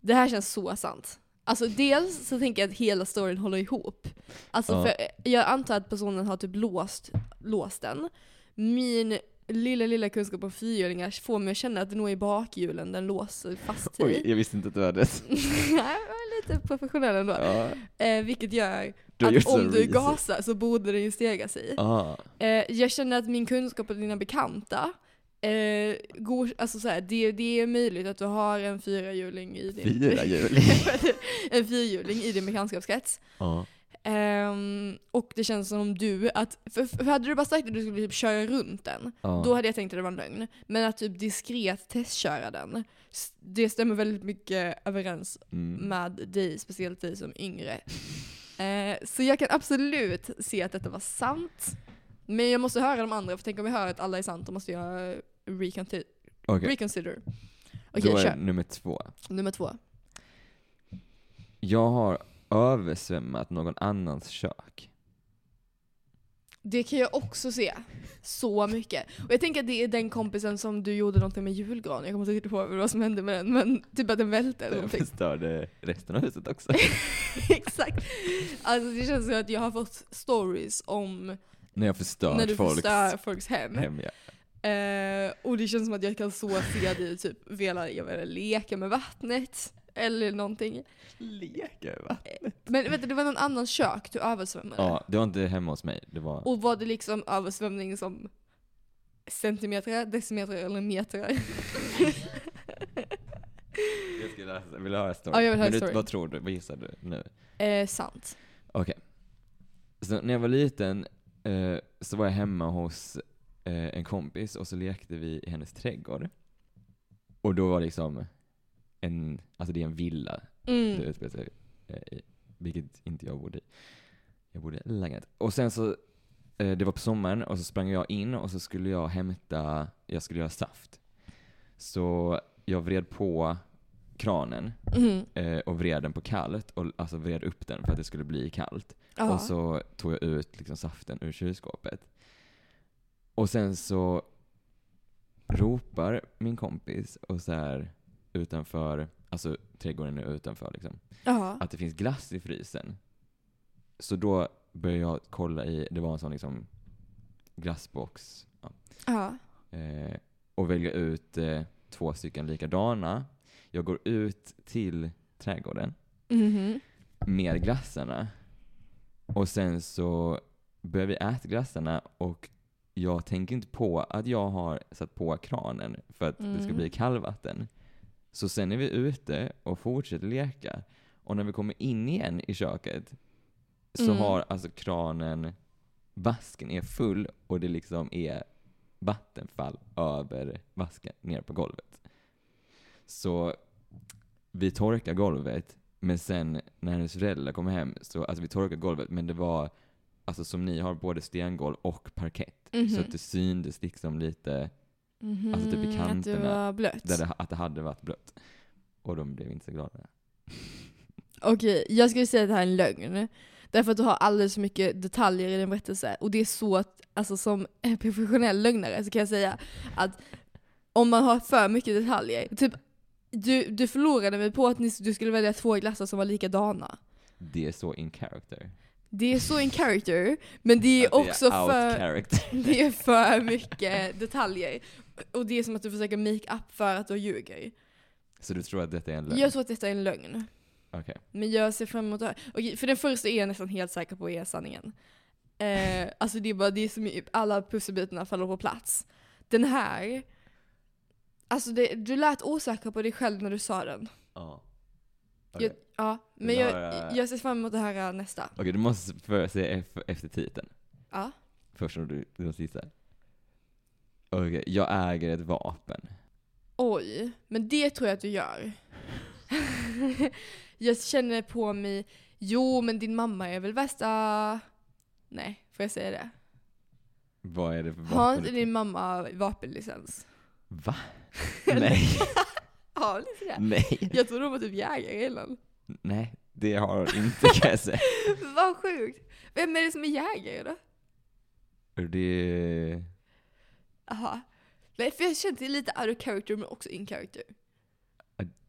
[SPEAKER 1] Det här känns så sant. Alltså dels så tänker jag att hela storyn håller ihop. Alltså
[SPEAKER 2] Ja.
[SPEAKER 1] för jag antar att personen har typ låst, låst den. Min lilla, lilla kunskap om fyrhjulingar får mig att känna att det nog är bakhjulen den låser fast
[SPEAKER 2] Oj,
[SPEAKER 1] i.
[SPEAKER 2] jag visste inte att du hade
[SPEAKER 1] Nej, jag var lite professionell ändå.
[SPEAKER 2] Ja,
[SPEAKER 1] Eh, vilket gör
[SPEAKER 2] har gjort
[SPEAKER 1] att
[SPEAKER 2] så
[SPEAKER 1] om du
[SPEAKER 2] research.
[SPEAKER 1] gasar så borde den ju stega sig.
[SPEAKER 2] Ah,
[SPEAKER 1] Eh, jag känner att min kunskap och dina bekanta eh, går, alltså så här, det, det är möjligt att du har en fyrahjuling i din...
[SPEAKER 2] Fyrahjuling?
[SPEAKER 1] en fyrhjuling i din bekantskapskrets.
[SPEAKER 2] ja.
[SPEAKER 1] Ehm, och det känns som du, att, för, för hade du bara sagt att du skulle typ köra runt den,
[SPEAKER 2] ja.
[SPEAKER 1] då hade jag tänkt att det var en lögn. Men att typ diskret testköra den, s- det stämmer väldigt mycket överens
[SPEAKER 2] mm.
[SPEAKER 1] med dig, speciellt dig som yngre. Eh, så jag kan absolut se att detta var sant. Men jag måste höra de andra, för tänk om vi hör att alla är sant, då måste jag reconti-
[SPEAKER 2] Okej,
[SPEAKER 1] reconsider. Okej,
[SPEAKER 2] då är
[SPEAKER 1] kör.
[SPEAKER 2] nummer två.
[SPEAKER 1] Nummer två.
[SPEAKER 2] Jag har översvämmat någon annans kök.
[SPEAKER 1] Det kan jag också se. Så mycket. Och jag tänker att det är den kompisen som du gjorde någonting med julgranen. Jag kommer inte riktigt ihåg vad som hände med den, men typ att den välte eller
[SPEAKER 2] Jag
[SPEAKER 1] någonting.
[SPEAKER 2] förstörde resten av huset också.
[SPEAKER 1] Exakt. Alltså det känns som att jag har fått stories om
[SPEAKER 2] När jag förstört
[SPEAKER 1] när du
[SPEAKER 2] folks
[SPEAKER 1] förstör folks hem.
[SPEAKER 2] hem. Ja.
[SPEAKER 1] Eh, och det känns som att jag kan så se dig typ vilja jag vill leka med vattnet. Eller någonting.
[SPEAKER 2] Leker va?
[SPEAKER 1] Men vänta, det var någon annans kök du översvämmade.
[SPEAKER 2] Ja, det var inte hemma hos mig. Det var...
[SPEAKER 1] Och var det liksom översvämning som centimeter, decimeter eller meter?
[SPEAKER 2] Jag ska läsa. Vill du höra storyn?
[SPEAKER 1] Ja, jag vill höra
[SPEAKER 2] Men du,
[SPEAKER 1] storyn.
[SPEAKER 2] Vad tror du? Vad gissar du nu?
[SPEAKER 1] eh, sant.
[SPEAKER 2] Okej. Så när jag var liten eh, så var jag hemma hos eh, en kompis och så lekte vi i hennes trädgård. Och då var det liksom en, alltså det är en villa det
[SPEAKER 1] Mm.
[SPEAKER 2] utspelar sig eh, i, vilket inte jag bodde i. Jag bodde i en lägenhet. Och sen så, eh, det var på sommaren och så sprang jag in och så skulle jag hämta, jag skulle göra saft. Så jag vred på kranen
[SPEAKER 1] Mm.
[SPEAKER 2] eh, och vred den på kallt och alltså vred upp den för att det skulle bli kallt.
[SPEAKER 1] Ja.
[SPEAKER 2] Och så tog jag ut liksom saften ur kylskåpet. Och sen så ropar min kompis och så här utanför, alltså trädgården är utanför liksom,
[SPEAKER 1] Ja.
[SPEAKER 2] att det finns glass i frysen. Så då började jag kolla i, det var en sån liksom glassbox. Ja.
[SPEAKER 1] Ja.
[SPEAKER 2] Eh, och välja ut eh, två stycken likadana. Jag går ut till trädgården
[SPEAKER 1] Mhm.
[SPEAKER 2] med glassarna. Och sen så börjar vi äta glassarna och jag tänker inte på att jag har satt på kranen för att det ska
[SPEAKER 1] Mm.
[SPEAKER 2] bli kallvatten. Så sen är vi ute och fortsätter leka. Och när vi kommer in igen i köket så
[SPEAKER 1] Mm.
[SPEAKER 2] har alltså kranen, vasken är full och det liksom är vattenfall över vasken ner på golvet. Så vi torkar golvet, men sen när hennes föräldrar kommer hem så, alltså vi torkar golvet, men det var, alltså som ni har, både stengolv och parkett.
[SPEAKER 1] Mhm.
[SPEAKER 2] Så att det syndes liksom lite, Alltså typ i
[SPEAKER 1] Mhm, Att du
[SPEAKER 2] kanterna,
[SPEAKER 1] var blöt.
[SPEAKER 2] där det, att det hade varit blött. Och de blev inte så glada.
[SPEAKER 1] Okej, jag skulle säga att det här är en lögn. Därför att du har alldeles för mycket detaljer i din berättelse. Och det är så att, alltså som en professionell lögnare så kan jag säga att om man har för mycket detaljer, typ du, du förlorade mig på att ni, du skulle välja två glassar som var likadana.
[SPEAKER 2] Det är så in character.
[SPEAKER 1] Det är så in character, men det är
[SPEAKER 2] Att det
[SPEAKER 1] också
[SPEAKER 2] är out
[SPEAKER 1] för...
[SPEAKER 2] character.
[SPEAKER 1] Det är för mycket detaljer. Och det är som att du försöker make up för att du ljuger.
[SPEAKER 2] Så du tror att detta är en lögn?
[SPEAKER 1] Jag tror att detta är en lögn.
[SPEAKER 2] Okej.
[SPEAKER 1] Men jag ser fram emot det här. Okej, för den första är jag nästan helt säker på är sanningen. Eh, alltså det är bara det är som alla pusselbitarna faller på plats. Den här, alltså det, du lät osäker på dig själv när du sa den.
[SPEAKER 2] Ja.
[SPEAKER 1] Jag,
[SPEAKER 2] Okej.
[SPEAKER 1] ja, men
[SPEAKER 2] Vill du
[SPEAKER 1] jag,
[SPEAKER 2] höra-
[SPEAKER 1] jag ser fram emot det här eh, nästa.
[SPEAKER 2] Okej, du måste för- säga eff- efter titeln.
[SPEAKER 1] Ja.
[SPEAKER 2] Först om du, du måste gissa. Okej, jag äger ett vapen.
[SPEAKER 1] Oj, men det tror jag att du gör. jag känner på mig, jo men din mamma är väl värsta... Nej, får jag säga det?
[SPEAKER 2] Vad är det för vapen?
[SPEAKER 1] Har inte din mamma vapenlicens?
[SPEAKER 2] Va? Nej,
[SPEAKER 1] Ja, lite det.
[SPEAKER 2] nej,
[SPEAKER 1] Jag tror de var typ jägare innan.
[SPEAKER 2] nej. Det har jag inte kan jag säga.
[SPEAKER 1] Vad sjukt. Vem är det som är jägare då?
[SPEAKER 2] Det...
[SPEAKER 1] Aha. Nej, för jag kände lite out of character men också in character.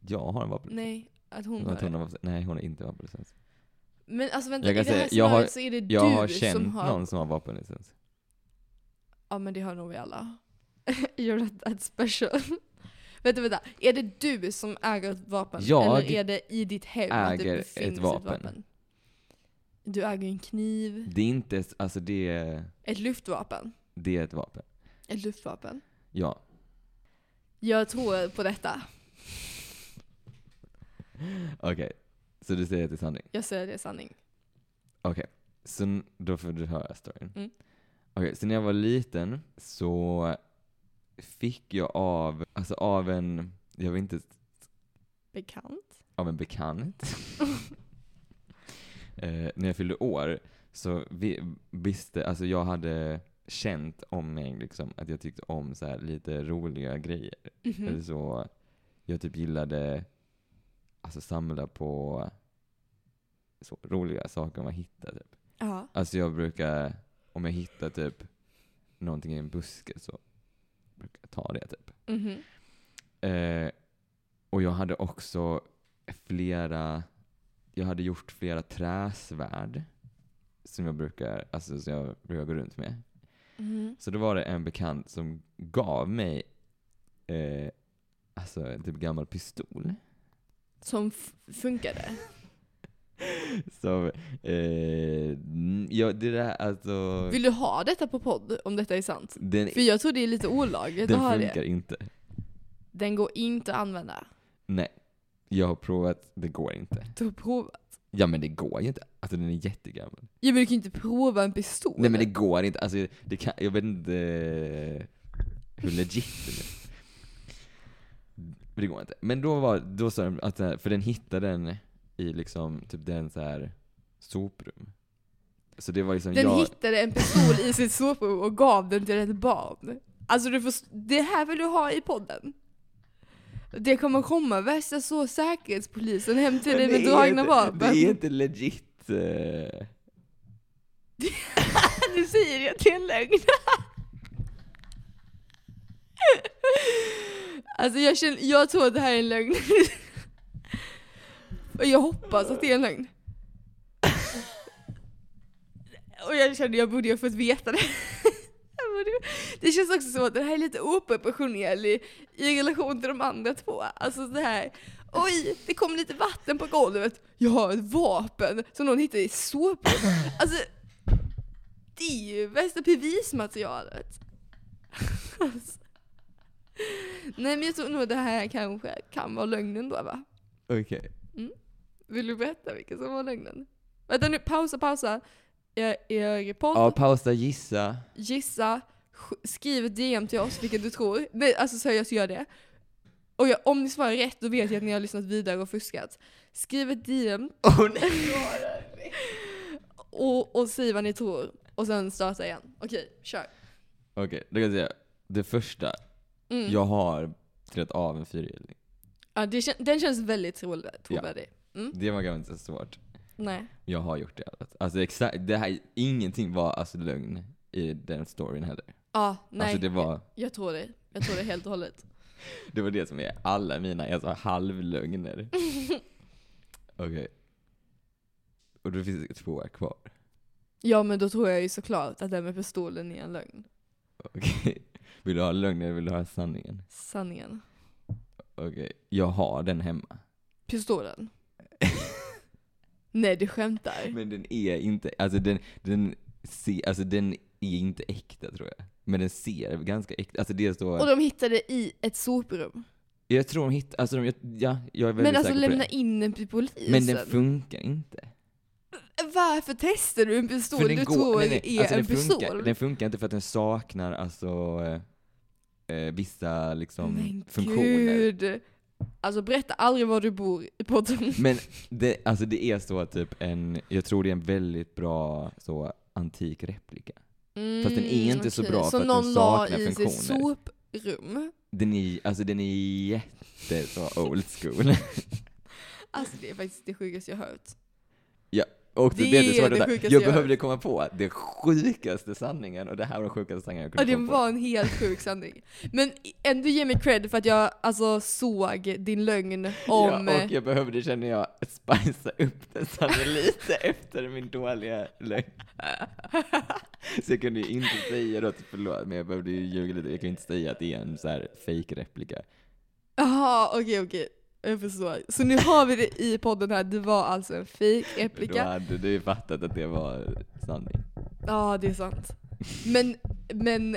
[SPEAKER 2] Jag har en vapen.
[SPEAKER 1] Nej, att hon
[SPEAKER 2] Hon
[SPEAKER 1] har
[SPEAKER 2] hon
[SPEAKER 1] det.
[SPEAKER 2] har vapen. Nej, hon har inte vapenlicens.
[SPEAKER 1] Men alltså vänta, i
[SPEAKER 2] Jag
[SPEAKER 1] det
[SPEAKER 2] kan
[SPEAKER 1] här
[SPEAKER 2] säga,
[SPEAKER 1] scenariot
[SPEAKER 2] jag har-
[SPEAKER 1] så är det
[SPEAKER 2] Jag
[SPEAKER 1] du
[SPEAKER 2] har
[SPEAKER 1] som
[SPEAKER 2] känt
[SPEAKER 1] har...
[SPEAKER 2] någon som har vapenlicens.
[SPEAKER 1] Ja men det har nog vi alla. You're not that special. vänta, vänta. Är det du som äger ett vapen?
[SPEAKER 2] Jag
[SPEAKER 1] Eller är det i ditt hem att
[SPEAKER 2] äger
[SPEAKER 1] det
[SPEAKER 2] ett
[SPEAKER 1] befinns ett vapen?
[SPEAKER 2] vapen.
[SPEAKER 1] Du äger ju en kniv.
[SPEAKER 2] Det är inte, alltså det är,
[SPEAKER 1] Ett luftvapen.
[SPEAKER 2] det är ett vapen.
[SPEAKER 1] Ett luftvapen.
[SPEAKER 2] Ja.
[SPEAKER 1] Jag tror på detta.
[SPEAKER 2] Okej. Så du säger att det är sanning?
[SPEAKER 1] Jag säger det är sanning.
[SPEAKER 2] Okej, så n- då får du höra storyn.
[SPEAKER 1] Mm.
[SPEAKER 2] Okej, så när jag var liten så fick jag av, alltså av en, jag vet inte,
[SPEAKER 1] Bekant.
[SPEAKER 2] av en bekant. eh, när jag fyllde år så vi, visste, alltså jag hade känt om mig liksom att jag tyckte om så här lite roliga grejer.
[SPEAKER 1] Mhm.
[SPEAKER 2] Eller så, jag typ gillade alltså samla på så, roliga saker man hittar typ.
[SPEAKER 1] Ja.
[SPEAKER 2] Alltså jag brukar, om jag hittar typ någonting i en buske så brukar jag ta det typ.
[SPEAKER 1] Mhm.
[SPEAKER 2] Eh, och jag hade också flera, jag hade gjort flera träsvärd som jag brukar, alltså som jag brukar gå runt med.
[SPEAKER 1] Mhm.
[SPEAKER 2] Så då var det en bekant som gav mig eh, alltså en typ gammal pistol.
[SPEAKER 1] Som f- funkade.
[SPEAKER 2] Som, eh, mm, ja det där alltså,
[SPEAKER 1] Vill du ha detta på podd om detta är sant?
[SPEAKER 2] den,
[SPEAKER 1] För jag tror det är lite olagligt att
[SPEAKER 2] den
[SPEAKER 1] ha
[SPEAKER 2] funkar
[SPEAKER 1] det.
[SPEAKER 2] inte.
[SPEAKER 1] Den går inte att använda.
[SPEAKER 2] Nej, jag har provat, det går inte.
[SPEAKER 1] Du har provat.
[SPEAKER 2] Ja men det går ju inte, alltså den är jättegammal.
[SPEAKER 1] Ja, men du kan ju inte prova en pistol.
[SPEAKER 2] Nej men det går inte, alltså det kan, jag vet inte hur legit det är. Men Det går inte. Men då var, då sa de att, så här- för den hittade den i liksom, typ den så här soprum. Så det var liksom
[SPEAKER 1] Den
[SPEAKER 2] jag,
[SPEAKER 1] hittade en pistol i sitt sovrum och gav den till ett barn. Alltså du får, det här vill du ha i podden. Det kommer komma värsta så säkerhetspolisen hem till dig
[SPEAKER 2] Men
[SPEAKER 1] med
[SPEAKER 2] det är
[SPEAKER 1] dragna
[SPEAKER 2] inte-
[SPEAKER 1] vapen.
[SPEAKER 2] Det är inte legit. eh.
[SPEAKER 1] Du säger det till en lögn. Alltså jag, känner, jag tror att det här är en lögn. Och jag hoppas att det är en lögn. Och jag kände jag borde ju ha fått veta det. Jag borde- Det känns också som att det här är lite oproportionerlig i relation till de andra två. Alltså så här, oj, det kom lite vatten på golvet. Jag har ett vapen som någon hittade i såpan. Alltså, det är ju bästa bevismaterialet. Alltså. Nej men jag tror nog det här kanske kan vara lögnen då va?
[SPEAKER 2] Okej.
[SPEAKER 1] Vill du berätta vilken som var lögnen? Vänta nu, pausa, pausa. Er, er podd,
[SPEAKER 2] Ja, pausa, gissa.
[SPEAKER 1] gissa, sk- skriv ett DM till oss vilken du tror. Nej alltså seriöst gör det. Och jag, om ni svarar rätt då vet jag att ni har lyssnat vidare och fuskat. Skriv ett DM
[SPEAKER 2] Åh nej!
[SPEAKER 1] och, och säg vad ni tror. Och sen starta igen. Okej, kör.
[SPEAKER 2] Okej, då kan jag säga. Det första,
[SPEAKER 1] Mm.
[SPEAKER 2] jag har trätt av en fyrhjuling.
[SPEAKER 1] Ja, det kän- den känns väldigt trovärdig.
[SPEAKER 2] Ja.
[SPEAKER 1] trovärdig.
[SPEAKER 2] Det var kanske inte så svårt.
[SPEAKER 1] Nej.
[SPEAKER 2] Jag har gjort det. Alltså exakt, det här, ingenting var alltså lögn i den storyn heller.
[SPEAKER 1] Ja, nej.
[SPEAKER 2] Alltså det var,
[SPEAKER 1] Jag tror dig. Jag tror dig helt och hållet.
[SPEAKER 2] det var det som är alla mina alltså, halvlögner. Okej. Och då finns det två kvar.
[SPEAKER 1] ja, men då tror jag ju såklart att det här med pistolen är en lögn.
[SPEAKER 2] Okej. Vill du ha lögnen eller vill du ha sanningen?
[SPEAKER 1] Sanningen.
[SPEAKER 2] Okej. Jag har den hemma.
[SPEAKER 1] Pistolen. nej, du skämtar.
[SPEAKER 2] Men den är inte, alltså den, den, se, alltså den är inte äkta tror jag. Men den ser ganska äkta, alltså det
[SPEAKER 1] Och
[SPEAKER 2] står...
[SPEAKER 1] de hittade i ett soprum.
[SPEAKER 2] Jag tror de hittar, alltså de, jag- ja, jag är väldigt
[SPEAKER 1] Men alltså
[SPEAKER 2] säker på
[SPEAKER 1] lämna
[SPEAKER 2] det.
[SPEAKER 1] in den till polisen.
[SPEAKER 2] Men den funkar inte.
[SPEAKER 1] Varför testar du en pistol
[SPEAKER 2] För
[SPEAKER 1] du
[SPEAKER 2] går-
[SPEAKER 1] tror
[SPEAKER 2] nej, nej,
[SPEAKER 1] är
[SPEAKER 2] alltså
[SPEAKER 1] en
[SPEAKER 2] den
[SPEAKER 1] pistol?
[SPEAKER 2] Funkar, den funkar inte för att den saknar alltså eh, eh, vissa liksom
[SPEAKER 1] Men
[SPEAKER 2] funktioner.
[SPEAKER 1] gud. Alltså berätta aldrig var du bor i podden.
[SPEAKER 2] Men det, alltså det är så typ en, jag tror det är en väldigt bra så antik replika. fast den är inte så
[SPEAKER 1] Mm, okej.
[SPEAKER 2] bra
[SPEAKER 1] så
[SPEAKER 2] för att den
[SPEAKER 1] någon la
[SPEAKER 2] saknar
[SPEAKER 1] i sitt
[SPEAKER 2] funktioner.
[SPEAKER 1] soprum.
[SPEAKER 2] Den är, alltså den är jätte så old school.
[SPEAKER 1] Alltså det är faktiskt det sjukaste jag hört.
[SPEAKER 2] Och du
[SPEAKER 1] Det
[SPEAKER 2] vet du
[SPEAKER 1] är
[SPEAKER 2] vad
[SPEAKER 1] det
[SPEAKER 2] det där,
[SPEAKER 1] sjukaste
[SPEAKER 2] jag
[SPEAKER 1] jag
[SPEAKER 2] behövde komma på den sjukaste sanningen och det här var den sjukaste sanningen jag
[SPEAKER 1] Ja det
[SPEAKER 2] kunde komma på.
[SPEAKER 1] var en helt sjuk sanning. Men ändå ge mig cred för att jag alltså såg din lögn om...
[SPEAKER 2] Ja, och jag behövde, känner jag, spicea upp den sanningen lite efter min dåliga lögn. Så jag kunde ju inte säga då, typ, förlåt, men jag behövde ju ljuga lite. Jag kan ju inte säga att det är en så här fake replika.
[SPEAKER 1] Jaha okej okej. Jag förstår. Så nu har vi det i podden här, det var alltså en fake
[SPEAKER 2] Men Då
[SPEAKER 1] replika.
[SPEAKER 2] hade du ju fattat att det var sanning.
[SPEAKER 1] Ja, det är sant. Men, men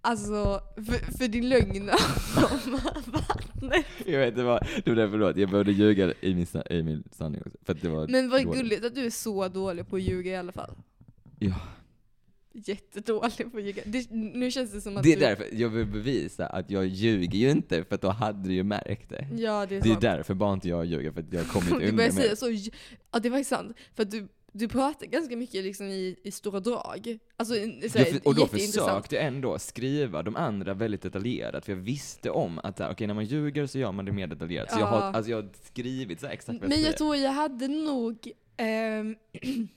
[SPEAKER 1] alltså, för, för din lögn om vattnet.
[SPEAKER 2] Jag vet, det var, det var därför då, att jag behövde ljuga i min, sa- i min sanning också. För att det var
[SPEAKER 1] Men vad
[SPEAKER 2] dåligt.
[SPEAKER 1] gulligt att du är så dålig på att ljuga i alla fall.
[SPEAKER 2] Ja.
[SPEAKER 1] Jättedålig på att ljuga. Det, nu känns det som att
[SPEAKER 2] Det är
[SPEAKER 1] du...
[SPEAKER 2] därför jag vill bevisa att jag ljuger ju inte, för att då hade du ju märkt det.
[SPEAKER 1] Ja, det är
[SPEAKER 2] Det är
[SPEAKER 1] sant.
[SPEAKER 2] därför bara inte jag ljuger, för att jag kom inte
[SPEAKER 1] du
[SPEAKER 2] undan
[SPEAKER 1] börjar
[SPEAKER 2] med
[SPEAKER 1] säga
[SPEAKER 2] det.
[SPEAKER 1] så, ja det var ju sant. För att du, du pratar ganska mycket liksom i, i stora drag. Alltså, i- i så här,
[SPEAKER 2] Jag för, och då
[SPEAKER 1] jätteintressant.
[SPEAKER 2] försökte jag ändå skriva de andra väldigt detaljerat, för jag visste om att så här, okej när man ljuger så gör man det mer detaljerat. Så jag har,
[SPEAKER 1] Ja.
[SPEAKER 2] alltså, jag har skrivit så här exakt vad
[SPEAKER 1] Men jag
[SPEAKER 2] säger.
[SPEAKER 1] tror jag hade nog ehm,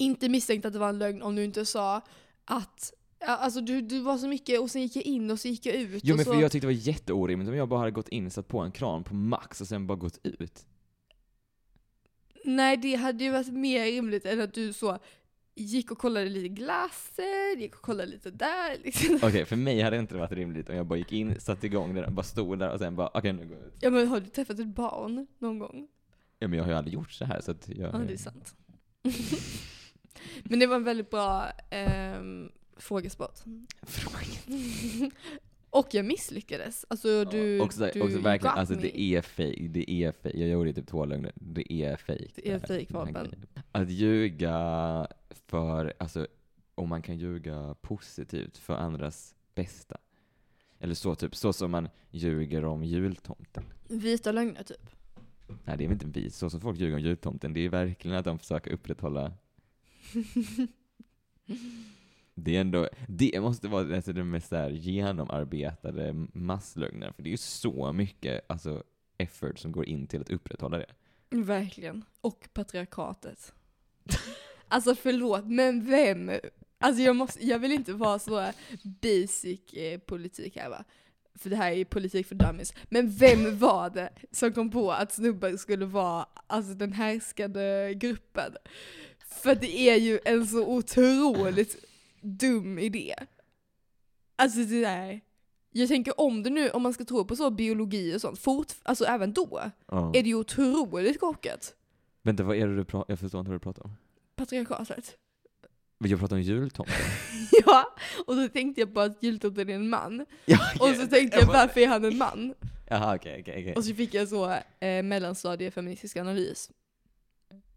[SPEAKER 1] inte misstänkt att det var en lögn om du inte sa att ja, Alltså du, du var så mycket och sen gick jag in och så gick jag ut.
[SPEAKER 2] Jo
[SPEAKER 1] och
[SPEAKER 2] men
[SPEAKER 1] så,
[SPEAKER 2] för jag tyckte det var jätteorimligt om jag bara hade gått in, satt på en kran på max och sen bara gått ut.
[SPEAKER 1] Nej det hade ju varit mer rimligt än att du så gick och kollade lite glaser, gick och kollade lite där. Liksom.
[SPEAKER 2] Okej, för mig hade det inte varit rimligt om jag bara gick in, satte igång den, bara stod där och sen bara okej nu går jag ut.
[SPEAKER 1] Ja men har du träffat ett barn någon gång?
[SPEAKER 2] Ja men jag har ju aldrig gjort så här så att jag...
[SPEAKER 1] Ja det är sant. men det var en väldigt bra ehm, frågesport. och jag misslyckades. Alltså du,
[SPEAKER 2] Ja, också,
[SPEAKER 1] du
[SPEAKER 2] också verkligen,
[SPEAKER 1] got
[SPEAKER 2] alltså
[SPEAKER 1] me.
[SPEAKER 2] det är fake, det är fake. Jag gjorde typ två lögner, det är fake.
[SPEAKER 1] Det är fake
[SPEAKER 2] Den här
[SPEAKER 1] vapen.
[SPEAKER 2] grejen. Att ljuga för, alltså om man kan ljuga positivt för andras bästa. Eller så typ, så som man ljuger om jultomten.
[SPEAKER 1] Vita lögner typ.
[SPEAKER 2] Nej det är väl inte vi, så som folk ljuger om jultomten, det är verkligen att de försöker upprätthålla Det är ändå, det måste vara alltså, det mest så här genomarbetade masslögner, för det är ju så mycket alltså, effort som går in till att upprätthålla det.
[SPEAKER 1] Verkligen. Och patriarkatet. alltså förlåt, men vem? Alltså jag, måste, jag vill inte vara så basic eh, politik här va. För det här är ju politik för dummies. Men vem var det som kom på att snubbar skulle vara alltså, den härskande gruppen? För det är ju en så otroligt dum idé. Alltså det där. Jag tänker om det nu, om man ska tro på så biologi och sånt, fort, alltså även då
[SPEAKER 2] Ja.
[SPEAKER 1] är det ju otroligt korkat.
[SPEAKER 2] Vänta, vad är det du pratar Jag förstår inte vad du pratar om.
[SPEAKER 1] Patriarkatet.
[SPEAKER 2] Men Jag pratar om jultomten.
[SPEAKER 1] ja, och då tänkte jag på att jultomten är en man.
[SPEAKER 2] ja,
[SPEAKER 1] Och så tänkte jag varför är han en man?
[SPEAKER 2] Jaha, okej, okej, okej.
[SPEAKER 1] Och så fick jag så eh, mellanstadiefeministisk analys.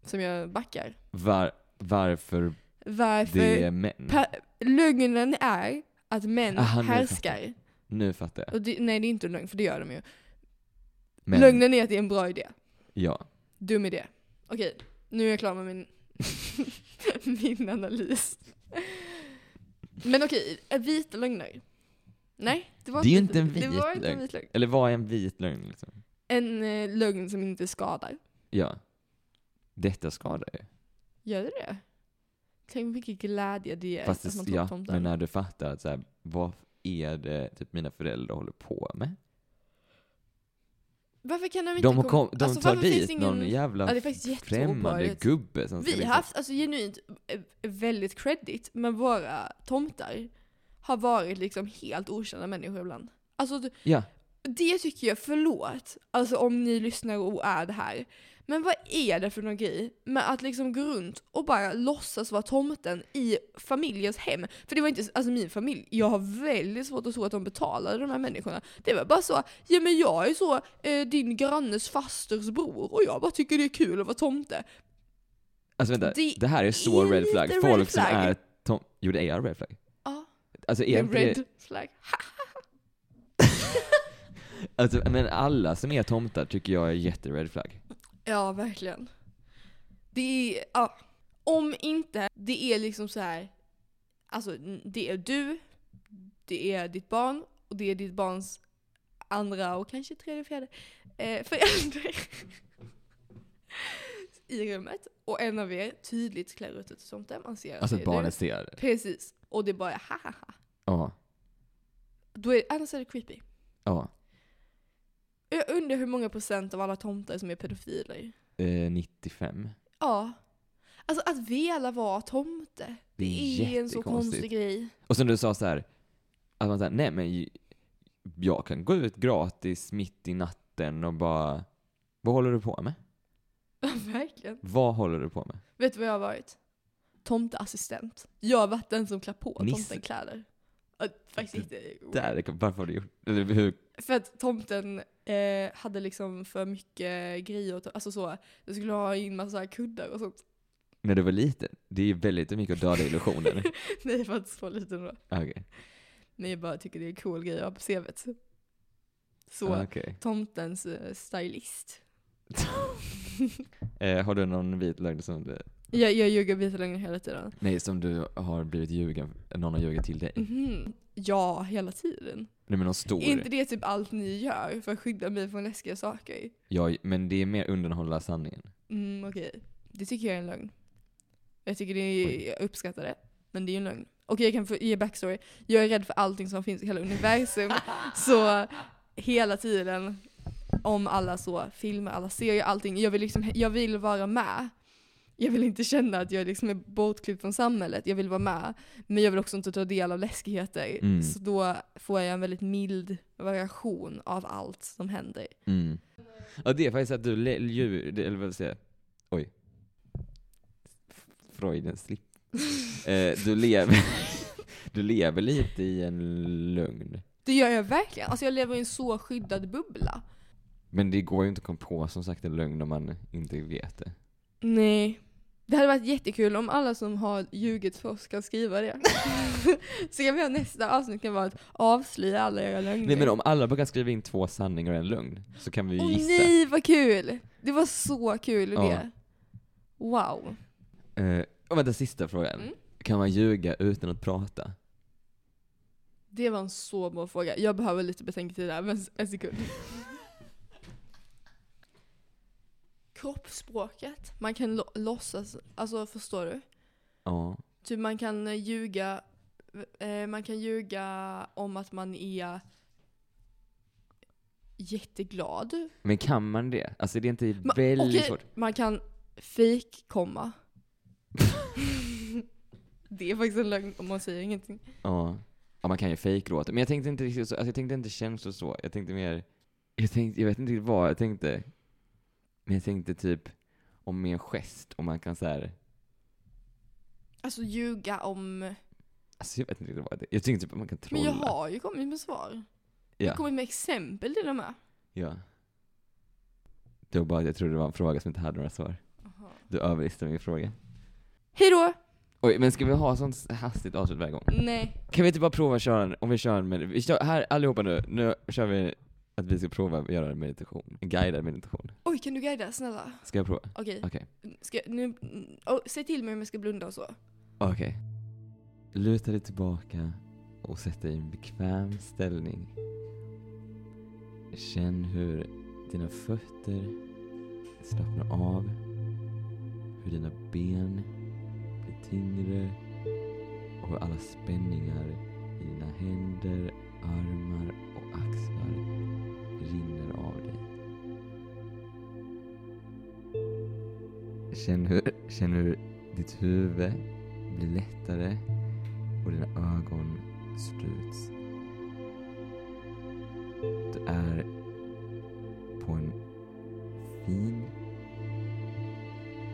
[SPEAKER 1] Som jag backar.
[SPEAKER 2] Var, varför
[SPEAKER 1] Varför
[SPEAKER 2] det är män?
[SPEAKER 1] pa- lögnen Ah, är att män
[SPEAKER 2] Aha, nu
[SPEAKER 1] härskar.
[SPEAKER 2] Nu fattar jag.
[SPEAKER 1] Och det, nej det är inte en lögn, för det gör de ju.
[SPEAKER 2] Men,
[SPEAKER 1] Lögnen är att det är en bra idé.
[SPEAKER 2] Ja.
[SPEAKER 1] Dum idé. Okej, nu är jag klar med min, min analys. Men okej, är vita lögner. Nej, det var
[SPEAKER 2] Det är ju
[SPEAKER 1] inte
[SPEAKER 2] inte en
[SPEAKER 1] det
[SPEAKER 2] vit
[SPEAKER 1] var inte en
[SPEAKER 2] lögn.
[SPEAKER 1] vit lögn.
[SPEAKER 2] Eller vad är en vit lögn liksom?
[SPEAKER 1] En eh, lögn som inte skadar.
[SPEAKER 2] Ja. Detta skadar ju.
[SPEAKER 1] Gör det det? Tänk vilken glädje det ger
[SPEAKER 2] Fast
[SPEAKER 1] att man
[SPEAKER 2] det,
[SPEAKER 1] tar
[SPEAKER 2] ja,
[SPEAKER 1] tomten.
[SPEAKER 2] men när du fattar att så här, vad är det typ mina föräldrar håller på med?
[SPEAKER 1] Varför kan de inte
[SPEAKER 2] De,
[SPEAKER 1] komma-
[SPEAKER 2] kom, de
[SPEAKER 1] alltså,
[SPEAKER 2] tar
[SPEAKER 1] varför finns
[SPEAKER 2] dit
[SPEAKER 1] det
[SPEAKER 2] någon jävla
[SPEAKER 1] Ja, det är faktiskt
[SPEAKER 2] främmande
[SPEAKER 1] jätteobehagligt.
[SPEAKER 2] gubbe som ska liksom-
[SPEAKER 1] Vi har haft, alltså genuint, eh, väldigt credit, men våra tomtar har varit liksom helt okända människor ibland. Alltså d-
[SPEAKER 2] Ja,
[SPEAKER 1] det tycker jag, förlåt, alltså om ni lyssnar och är det här. Men vad är det för någon grej med att liksom gå runt och bara låtsas vara tomten i familjens hem? För det var inte, alltså min familj, jag har väldigt svårt att tro att de betalade de här människorna. Det var bara så, ja men jag är så eh, din grannes fasters bror och jag bara tycker det är kul att vara tomte.
[SPEAKER 2] alltså vänta.
[SPEAKER 1] Det
[SPEAKER 2] Det, här är så
[SPEAKER 1] är
[SPEAKER 2] red flag.
[SPEAKER 1] lite
[SPEAKER 2] Folk
[SPEAKER 1] red
[SPEAKER 2] som
[SPEAKER 1] flag.
[SPEAKER 2] är tom... Jo, det är red flag.
[SPEAKER 1] Ja.
[SPEAKER 2] Alltså,
[SPEAKER 1] Det
[SPEAKER 2] är
[SPEAKER 1] är
[SPEAKER 2] inte det...
[SPEAKER 1] red flag.
[SPEAKER 2] Alltså, men alla som är tomtar tycker jag är jätte-red flag.
[SPEAKER 1] Ja, verkligen. Det är, ja. Om inte det är liksom så här. Alltså det är du, det är ditt barn och det är ditt barns andra och kanske tredje, fjärde eh, förälder i rummet. Och en av er tydligt klär ut sig till tomte. Man ser att
[SPEAKER 2] Alltså
[SPEAKER 1] det
[SPEAKER 2] att
[SPEAKER 1] är
[SPEAKER 2] barnet ser det.
[SPEAKER 1] du. Precis. Och det bara är ha ha ha.
[SPEAKER 2] Ja,
[SPEAKER 1] Då är, annars är det creepy.
[SPEAKER 2] ja.
[SPEAKER 1] Jag undrar hur många procent av alla tomtar som är pedofiler.
[SPEAKER 2] Eh, 95.
[SPEAKER 1] Ja. Alltså att vela vara tomte.
[SPEAKER 2] Det är,
[SPEAKER 1] Det är en så konstig grej.
[SPEAKER 2] Och som du sa så här, att man säger nej men j- jag kan gå ut gratis mitt i natten och bara, vad håller du på med?
[SPEAKER 1] Verkligen.
[SPEAKER 2] Vad håller du på med?
[SPEAKER 1] Vet du vad jag har varit? Tomteassistent. Jag har varit den som klär på
[SPEAKER 2] Nisse.
[SPEAKER 1] tomten kläder. Ja, Faktiskt inte.
[SPEAKER 2] Där, är- varför har du gjort eller hur,
[SPEAKER 1] För att tomten eh, hade liksom för mycket grejer. åt- Alltså så, jag skulle ha in massa kuddar och sånt.
[SPEAKER 2] När du var liten? Det är ju väldigt mycket att döda illusioner.
[SPEAKER 1] Nej, jag var inte så liten då.
[SPEAKER 2] Okej.
[SPEAKER 1] Men jag bara tycker det är en cool grej att ha på CVt. Så,
[SPEAKER 2] Ah, okej.
[SPEAKER 1] tomtens eh, stylist.
[SPEAKER 2] eh, har du någon vit lögn som du,
[SPEAKER 1] Jag, jag ljuger vita lögner hela tiden.
[SPEAKER 2] nej, som du har blivit ljugen, någon har ljugit till dig?
[SPEAKER 1] Mhm. Ja, hela tiden.
[SPEAKER 2] Nej men någon stor.
[SPEAKER 1] Är inte det typ allt ni gör för att skydda mig från läskiga saker?
[SPEAKER 2] Ja, men det är mer undanhålla sanningen.
[SPEAKER 1] Mm, okej. Det tycker jag är en lögn. Jag tycker det är, jag uppskattar det. Men det är ju en lögn. Okej, jag kan få ge backstory. Jag är rädd för allting som finns i hela universum. så hela tiden, om alla så filmer, alla serier, allting. Jag vill, liksom, jag vill vara med. Jag vill inte känna att jag liksom är bortklippt från samhället. Jag vill vara med. Men jag vill också inte ta del av läskigheter.
[SPEAKER 2] Mm.
[SPEAKER 1] Så då får jag en väldigt mild variation av allt som händer.
[SPEAKER 2] Mm. Ja, det är faktiskt att du le- ljuger, det- eller vad säger jag? Oj. F- Freudens slipp. eh, du lever Du lever lite i en lögn.
[SPEAKER 1] Det gör jag verkligen. Alltså jag lever i en så skyddad bubbla.
[SPEAKER 2] Men det går ju inte att komma på som sagt en lögn om man inte vet det.
[SPEAKER 1] Nej. Det hade varit jättekul om alla som har ljugit för oss kan skriva det. så kan vi ha nästa avsnitt kan vara att avslöja alla era lögner.
[SPEAKER 2] Nej men om alla bara kan skriva in två sanningar och en lögn så kan vi ju
[SPEAKER 1] Åh
[SPEAKER 2] gissa.
[SPEAKER 1] nej vad kul! Det var så kul
[SPEAKER 2] Ja.
[SPEAKER 1] det. Wow.
[SPEAKER 2] Eh, och vänta, sista frågan.
[SPEAKER 1] Mm.
[SPEAKER 2] Kan man ljuga utan att prata?
[SPEAKER 1] Det var en så bra fråga. Jag behöver lite betänketid där, men en sekund. Kroppsspråket. Man kan lo- låtsas, alltså förstår du?
[SPEAKER 2] Ja.
[SPEAKER 1] Typ man kan eh, ljuga eh, man kan ljuga om att man är jätteglad.
[SPEAKER 2] Men kan man det? Alltså det är inte
[SPEAKER 1] Ma-
[SPEAKER 2] väldigt
[SPEAKER 1] okej,
[SPEAKER 2] svårt.
[SPEAKER 1] Man kan fejkkomma. det är faktiskt en lögn om man säger ingenting.
[SPEAKER 2] Ja. ja, man kan ju fejkgråta. Men jag tänkte inte riktigt så, alltså jag tänkte inte känslor så. Jag tänkte mer, jag, tänkte, jag vet inte riktigt vad jag tänkte. Men jag tänkte typ om med en gest, om man kan så här.
[SPEAKER 1] Alltså ljuga om...
[SPEAKER 2] alltså jag vet inte riktigt vad det Jag tänkte typ att man kan trolla.
[SPEAKER 1] Men jag har ju kommit med svar. Jag har
[SPEAKER 2] ja.
[SPEAKER 1] kommit med exempel till och med.
[SPEAKER 2] ja. Det var bara att jag trodde det var en fråga som inte hade några svar. Du överlistade min fråga.
[SPEAKER 1] Hej då!
[SPEAKER 2] Oj, men ska vi ha sånt hastigt avslut varje gång?
[SPEAKER 1] Nej.
[SPEAKER 2] Kan vi inte bara prova att köra en, om vi kör en med, vi kör, här allihopa nu, nu kör vi att vi ska prova att göra en meditation, en guidad meditation.
[SPEAKER 1] Oj, kan du guida? Snälla.
[SPEAKER 2] Ska jag prova?
[SPEAKER 1] Okej.
[SPEAKER 2] Okej.
[SPEAKER 1] Ska jag- nu... mm, oh, säg till mig om jag ska blunda och så.
[SPEAKER 2] Okej. Luta dig tillbaka och sätt dig i en bekväm ställning. Känn hur dina fötter slappnar av hur dina ben blir tyngre och hur alla spänningar i dina händer, armar och axlar rinner av dig. Känn hur, känn hur ditt huvud blir lättare och dina ögon sluts. Du är på en fin,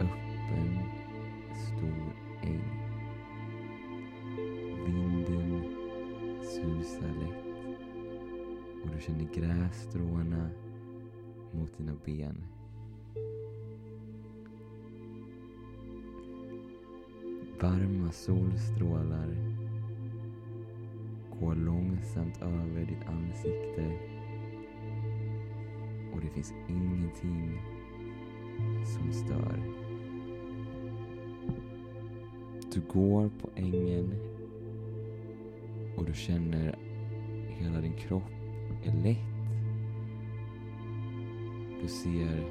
[SPEAKER 2] öppen, stor äng. Vinden susar lätt och du känner grässtråna mot dina ben. Varma solstrålar går långsamt över ditt ansikte och det finns ingenting som stör. Du går på ängen och du känner hela din kropp är lätt. Du ser,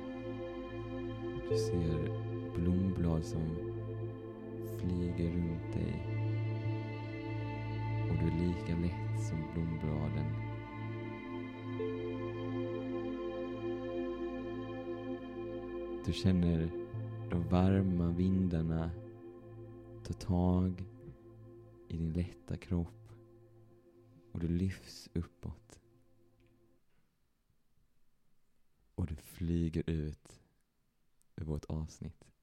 [SPEAKER 2] du ser blomblad som flyger runt dig och du är lika lätt som blombladen. Du känner de varma vindarna ta tag i din lätta kropp och du lyfts uppåt. Och du flyger ut över vårt avsnitt.